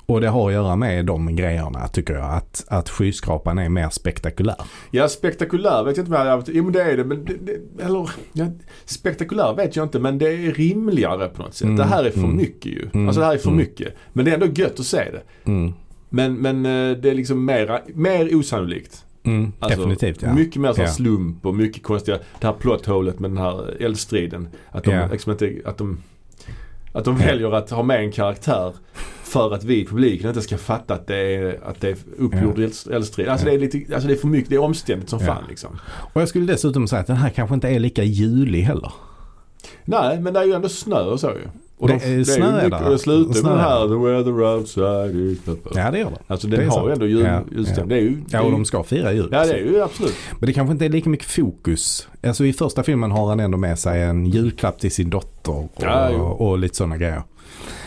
Speaker 2: Och det har att göra med de grejerna tycker jag. Att, att skyskrapan är mer spektakulär.
Speaker 1: Ja spektakulär vet jag inte om jag hade haft. Jo men det är det. Men det, det eller, ja, spektakulär vet jag inte men det är rimligare på något sätt. Det här är för mycket ju. Alltså det här är för mycket. Men det är ändå gött att se det.
Speaker 2: Mm.
Speaker 1: Men, men eh, det är liksom mera, mer osannolikt.
Speaker 2: Mm,
Speaker 1: Alltså,
Speaker 2: definitivt ja.
Speaker 1: Mycket mer så här
Speaker 2: Ja.
Speaker 1: slump och mycket konstiga, det här plotthålet med den här eldstriden. Att de,
Speaker 2: Ja.
Speaker 1: liksom inte, att de, att de väljer att ha med en karaktär för att vi i publiken inte ska fatta att det är, att det är uppgjord eld- eldstrid. Alltså, det är lite, alltså det är för mycket, det är omständigt som
Speaker 2: Ja.
Speaker 1: fan liksom.
Speaker 2: Och jag skulle dessutom säga att den här kanske inte är lika julig heller.
Speaker 1: Nej men det är ju ändå snö och så ju. Och
Speaker 2: Det är snö
Speaker 1: ju
Speaker 2: är
Speaker 1: mycket-
Speaker 2: det.
Speaker 1: och det slutar
Speaker 2: Snö
Speaker 1: med den
Speaker 2: är
Speaker 1: här the weather outside is...
Speaker 2: Ja, det gör den.
Speaker 1: Alltså
Speaker 2: Det
Speaker 1: den
Speaker 2: är
Speaker 1: har ju
Speaker 2: sant.
Speaker 1: ändå jul,
Speaker 2: Ja,
Speaker 1: julstämning.
Speaker 2: ja.
Speaker 1: Det är ju...
Speaker 2: Ja, och de ska fira jul. alltså.
Speaker 1: ja det är ju absolut.
Speaker 2: Men det kanske inte är lika mycket fokus. Alltså i första filmen har han ändå med sig en julklapp till sin dotter och,
Speaker 1: Ja, jo.
Speaker 2: och, lite sådana grejer.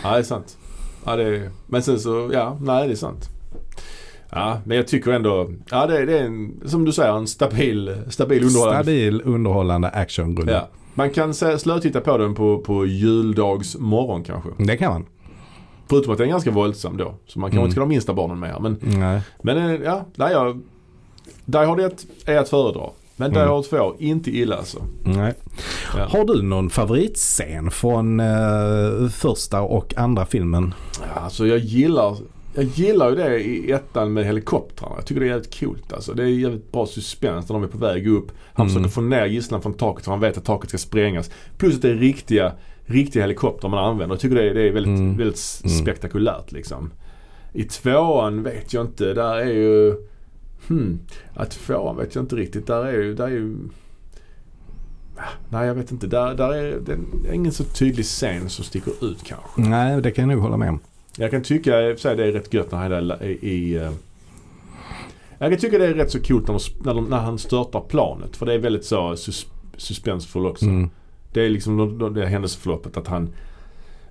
Speaker 1: Ja, det är sant. Ja, det är, men sen så, ja, nej det är sant. Ja, men jag tycker ändå, ja det, är- det är en, som du säger, en stabil, stabil underhållande.
Speaker 2: Stabil underhållande actionrulle.
Speaker 1: Ja. Man kan sä- slötitta på den på, på juldags morgon kanske.
Speaker 2: Det kan man.
Speaker 1: Förutom att den är ganska våldsam då. Så man kanske
Speaker 2: Mm.
Speaker 1: inte ska ha de minsta barnen med här. Men,
Speaker 2: Nej.
Speaker 1: men eh, ja, där jag, Die Hard 1 är att föredra. Men Die
Speaker 2: Mm.
Speaker 1: Hard 2, inte illa alltså.
Speaker 2: Nej.
Speaker 1: Ja.
Speaker 2: Har du någon favoritscen från eh, första och andra filmen?
Speaker 1: Ja, alltså jag gillar jag gillar ju det i ettan med helikoptrarna. Jag tycker det är jävligt coolt alltså. Det är jävligt bra suspens när de är på väg upp. Han
Speaker 2: Mm.
Speaker 1: försöker få ner gisslan från taket för han vet att taket ska sprängas. Plus att det är riktiga, riktiga helikoptrar man använder. Jag tycker det är, det är väldigt,
Speaker 2: Mm.
Speaker 1: väldigt s-
Speaker 2: Mm.
Speaker 1: spektakulärt liksom. I tvåan vet jag inte. Där är ju... Hmm, att tvåan vet jag inte riktigt. Där är ju... Där är ju Ah, Nej jag vet inte. Där, där är det är ingen så tydlig scen som sticker ut kanske.
Speaker 2: Nej, det kan jag nog hålla med om.
Speaker 1: Jag kan tycka i och för sig det är rätt gött när han är i... i eh, jag kan tycka det är rätt så coolt när, de, när, de, när han störtar planet. För det är väldigt så sus, suspensfull också.
Speaker 2: Mm.
Speaker 1: Det är liksom de- de- det händelseförloppet att han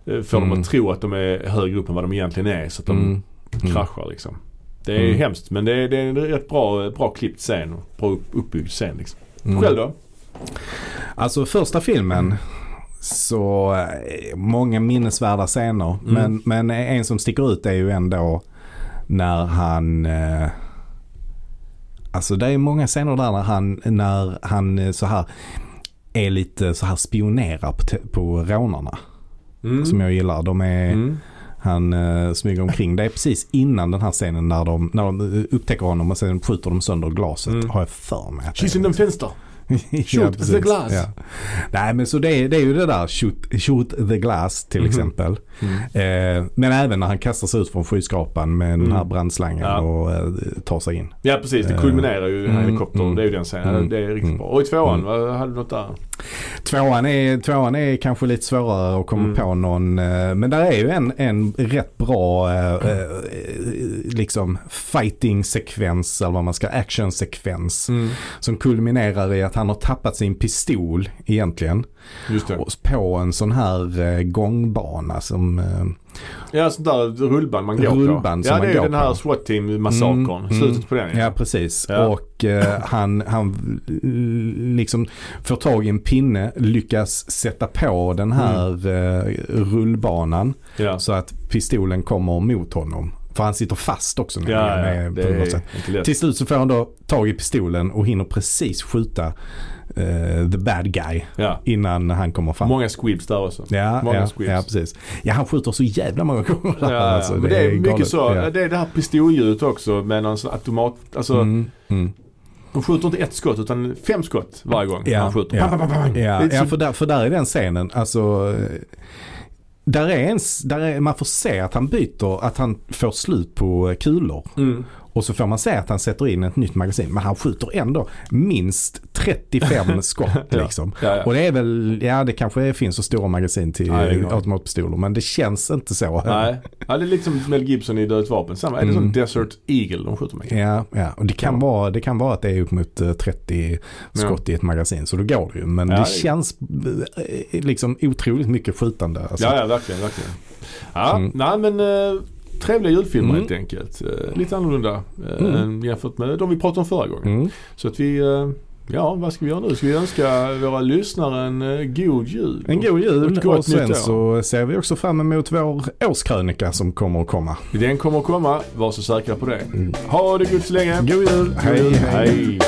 Speaker 1: eh, får dem
Speaker 2: Mm.
Speaker 1: att tro att de är högre upp än vad de egentligen är. Så att de
Speaker 2: Mm. Mm.
Speaker 1: kraschar liksom. Det är
Speaker 2: Mm.
Speaker 1: hemskt men det är, det är en rätt bra, bra klippt scen. och Bra upp, uppbyggd scen liksom.
Speaker 2: Mm.
Speaker 1: Själv då?
Speaker 2: Alltså första filmen så eh, många minnesvärda scener.
Speaker 1: Mm.
Speaker 2: Men, men en som sticker ut är ju ändå när han... Eh, alltså det är många scener där när han, när han eh, så här är lite så här spionerar på, te- på rånarna.
Speaker 1: Mm.
Speaker 2: Som jag gillar. De är...
Speaker 1: Mm.
Speaker 2: Han eh, smyger omkring. Det är precis innan den här scenen när de, när de eh, upptäcker honom och sen skjuter de sönder glaset.
Speaker 1: Mm.
Speaker 2: Har jag för mig. att det
Speaker 1: She's
Speaker 2: är.
Speaker 1: in the fenster. Shoot the
Speaker 2: precis.
Speaker 1: glass.
Speaker 2: Nej men så det är, det är ju det där shoot, shoot the glass till
Speaker 1: Mhm.
Speaker 2: exempel. Eh, men även när han kastar sig ut från skyskrapan med den här brandslangen
Speaker 1: Mm. Ja.
Speaker 2: och eh, tar sig in.
Speaker 1: Ja precis, det kulminerar ju i
Speaker 2: Mm,
Speaker 1: helikoptern.
Speaker 2: mm,
Speaker 1: det är ju den scenen.
Speaker 2: mm,
Speaker 1: det är riktigt
Speaker 2: mm.
Speaker 1: bra. Och i tvåan, vad hade du något där?
Speaker 2: Tvåan är, tvåan är kanske lite svårare att komma
Speaker 1: Mm.
Speaker 2: på någon. eh, Men där är ju en, en rätt bra eh, eh, liksom fighting-sekvens eller vad man ska,
Speaker 1: Mm.
Speaker 2: action-sekvens. Som kulminerar i att han har tappat sin pistol egentligen.
Speaker 1: Just det.
Speaker 2: Och på en sån här eh, gångbana som... Eh,
Speaker 1: Ja, sånt där rullband man går
Speaker 2: Rullband
Speaker 1: på.
Speaker 2: som
Speaker 1: Ja,
Speaker 2: man
Speaker 1: det är ju
Speaker 2: går
Speaker 1: den här
Speaker 2: på.
Speaker 1: SWAT team-massakern.
Speaker 2: Mm, mm.
Speaker 1: Slutet på den
Speaker 2: Ja precis.
Speaker 1: Ja.
Speaker 2: Och eh, han, han eh, liksom får tag i en pinne, lyckas sätta på den här eh, rullbanan
Speaker 1: Mm. ja.
Speaker 2: så att pistolen kommer mot honom. För han sitter fast också.
Speaker 1: Ja, ja,
Speaker 2: nämligen, eh,
Speaker 1: det
Speaker 2: på något
Speaker 1: är
Speaker 2: sätt.
Speaker 1: inte lätt.
Speaker 2: Till slut så får han då tag i pistolen och hinner precis skjuta eh, the bad guy
Speaker 1: Ja.
Speaker 2: innan han kommer fram.
Speaker 1: Många squibs där också.
Speaker 2: Ja,
Speaker 1: Många
Speaker 2: ja,
Speaker 1: squibs.
Speaker 2: ja, precis. Ja, han skjuter så jävla många gånger.
Speaker 1: Ja, ja.
Speaker 2: alltså,
Speaker 1: men det är, mycket
Speaker 2: galet.
Speaker 1: så.
Speaker 2: Ja.
Speaker 1: Det är det här pistolljudet också med någon sån automat. Alltså,
Speaker 2: Mm, mm.
Speaker 1: de skjuter inte ett skott utan fem skott varje gång
Speaker 2: Ja,
Speaker 1: han skjuter.
Speaker 2: ja.
Speaker 1: Pang, pang, pang, pang.
Speaker 2: Ja,
Speaker 1: Det är
Speaker 2: ja
Speaker 1: så-
Speaker 2: för, där, för där är den scenen, alltså eh, Där är en, s- där är, man får se att han byter, att han får slut på eh, kulor.
Speaker 1: Mm.
Speaker 2: Och så får man se att han sätter in ett nytt magasin. Men han skjuter ändå minst 35 skott
Speaker 1: Ja.
Speaker 2: liksom.
Speaker 1: Ja, ja.
Speaker 2: Och det är väl, ja det kanske finns så stora magasin till eh,
Speaker 1: Nej, det är klart.
Speaker 2: automatpistoler. Men det känns inte så.
Speaker 1: Nej, ja, det är liksom Mel Gibson i Dödligt vapen. Samma, är det
Speaker 2: Mm.
Speaker 1: som Desert Eagle de skjuter med?
Speaker 2: Ja, ja. och det kan,
Speaker 1: Ja.
Speaker 2: Vara, det kan vara att det är upp mot eh, 30 skott i ett magasin. Så då går det ju. Men
Speaker 1: Ja,
Speaker 2: det
Speaker 1: det-
Speaker 2: känns eh, liksom otroligt mycket skjutande. Alltså.
Speaker 1: Ja, ja, verkligen, verkligen. Ja,
Speaker 2: Mm.
Speaker 1: nej men eh, trevliga julfilmer
Speaker 2: Mm.
Speaker 1: helt enkelt. Eh, lite annorlunda eh,
Speaker 2: Mm.
Speaker 1: än jämfört med de vi pratade om förra gången.
Speaker 2: Mm.
Speaker 1: Så att vi, eh, ja vad ska vi göra nu? Ska vi önska våra lyssnare en eh, god jul?
Speaker 2: En god
Speaker 1: Och
Speaker 2: jul
Speaker 1: ett
Speaker 2: och,
Speaker 1: gott nytt
Speaker 2: sen
Speaker 1: år.
Speaker 2: så ser vi också fram emot vår årskrönika som kommer att komma.
Speaker 1: Den kommer komma, var så säkra på det. Ha det gott så länge.
Speaker 2: God Mm. jul!
Speaker 1: hej. hej.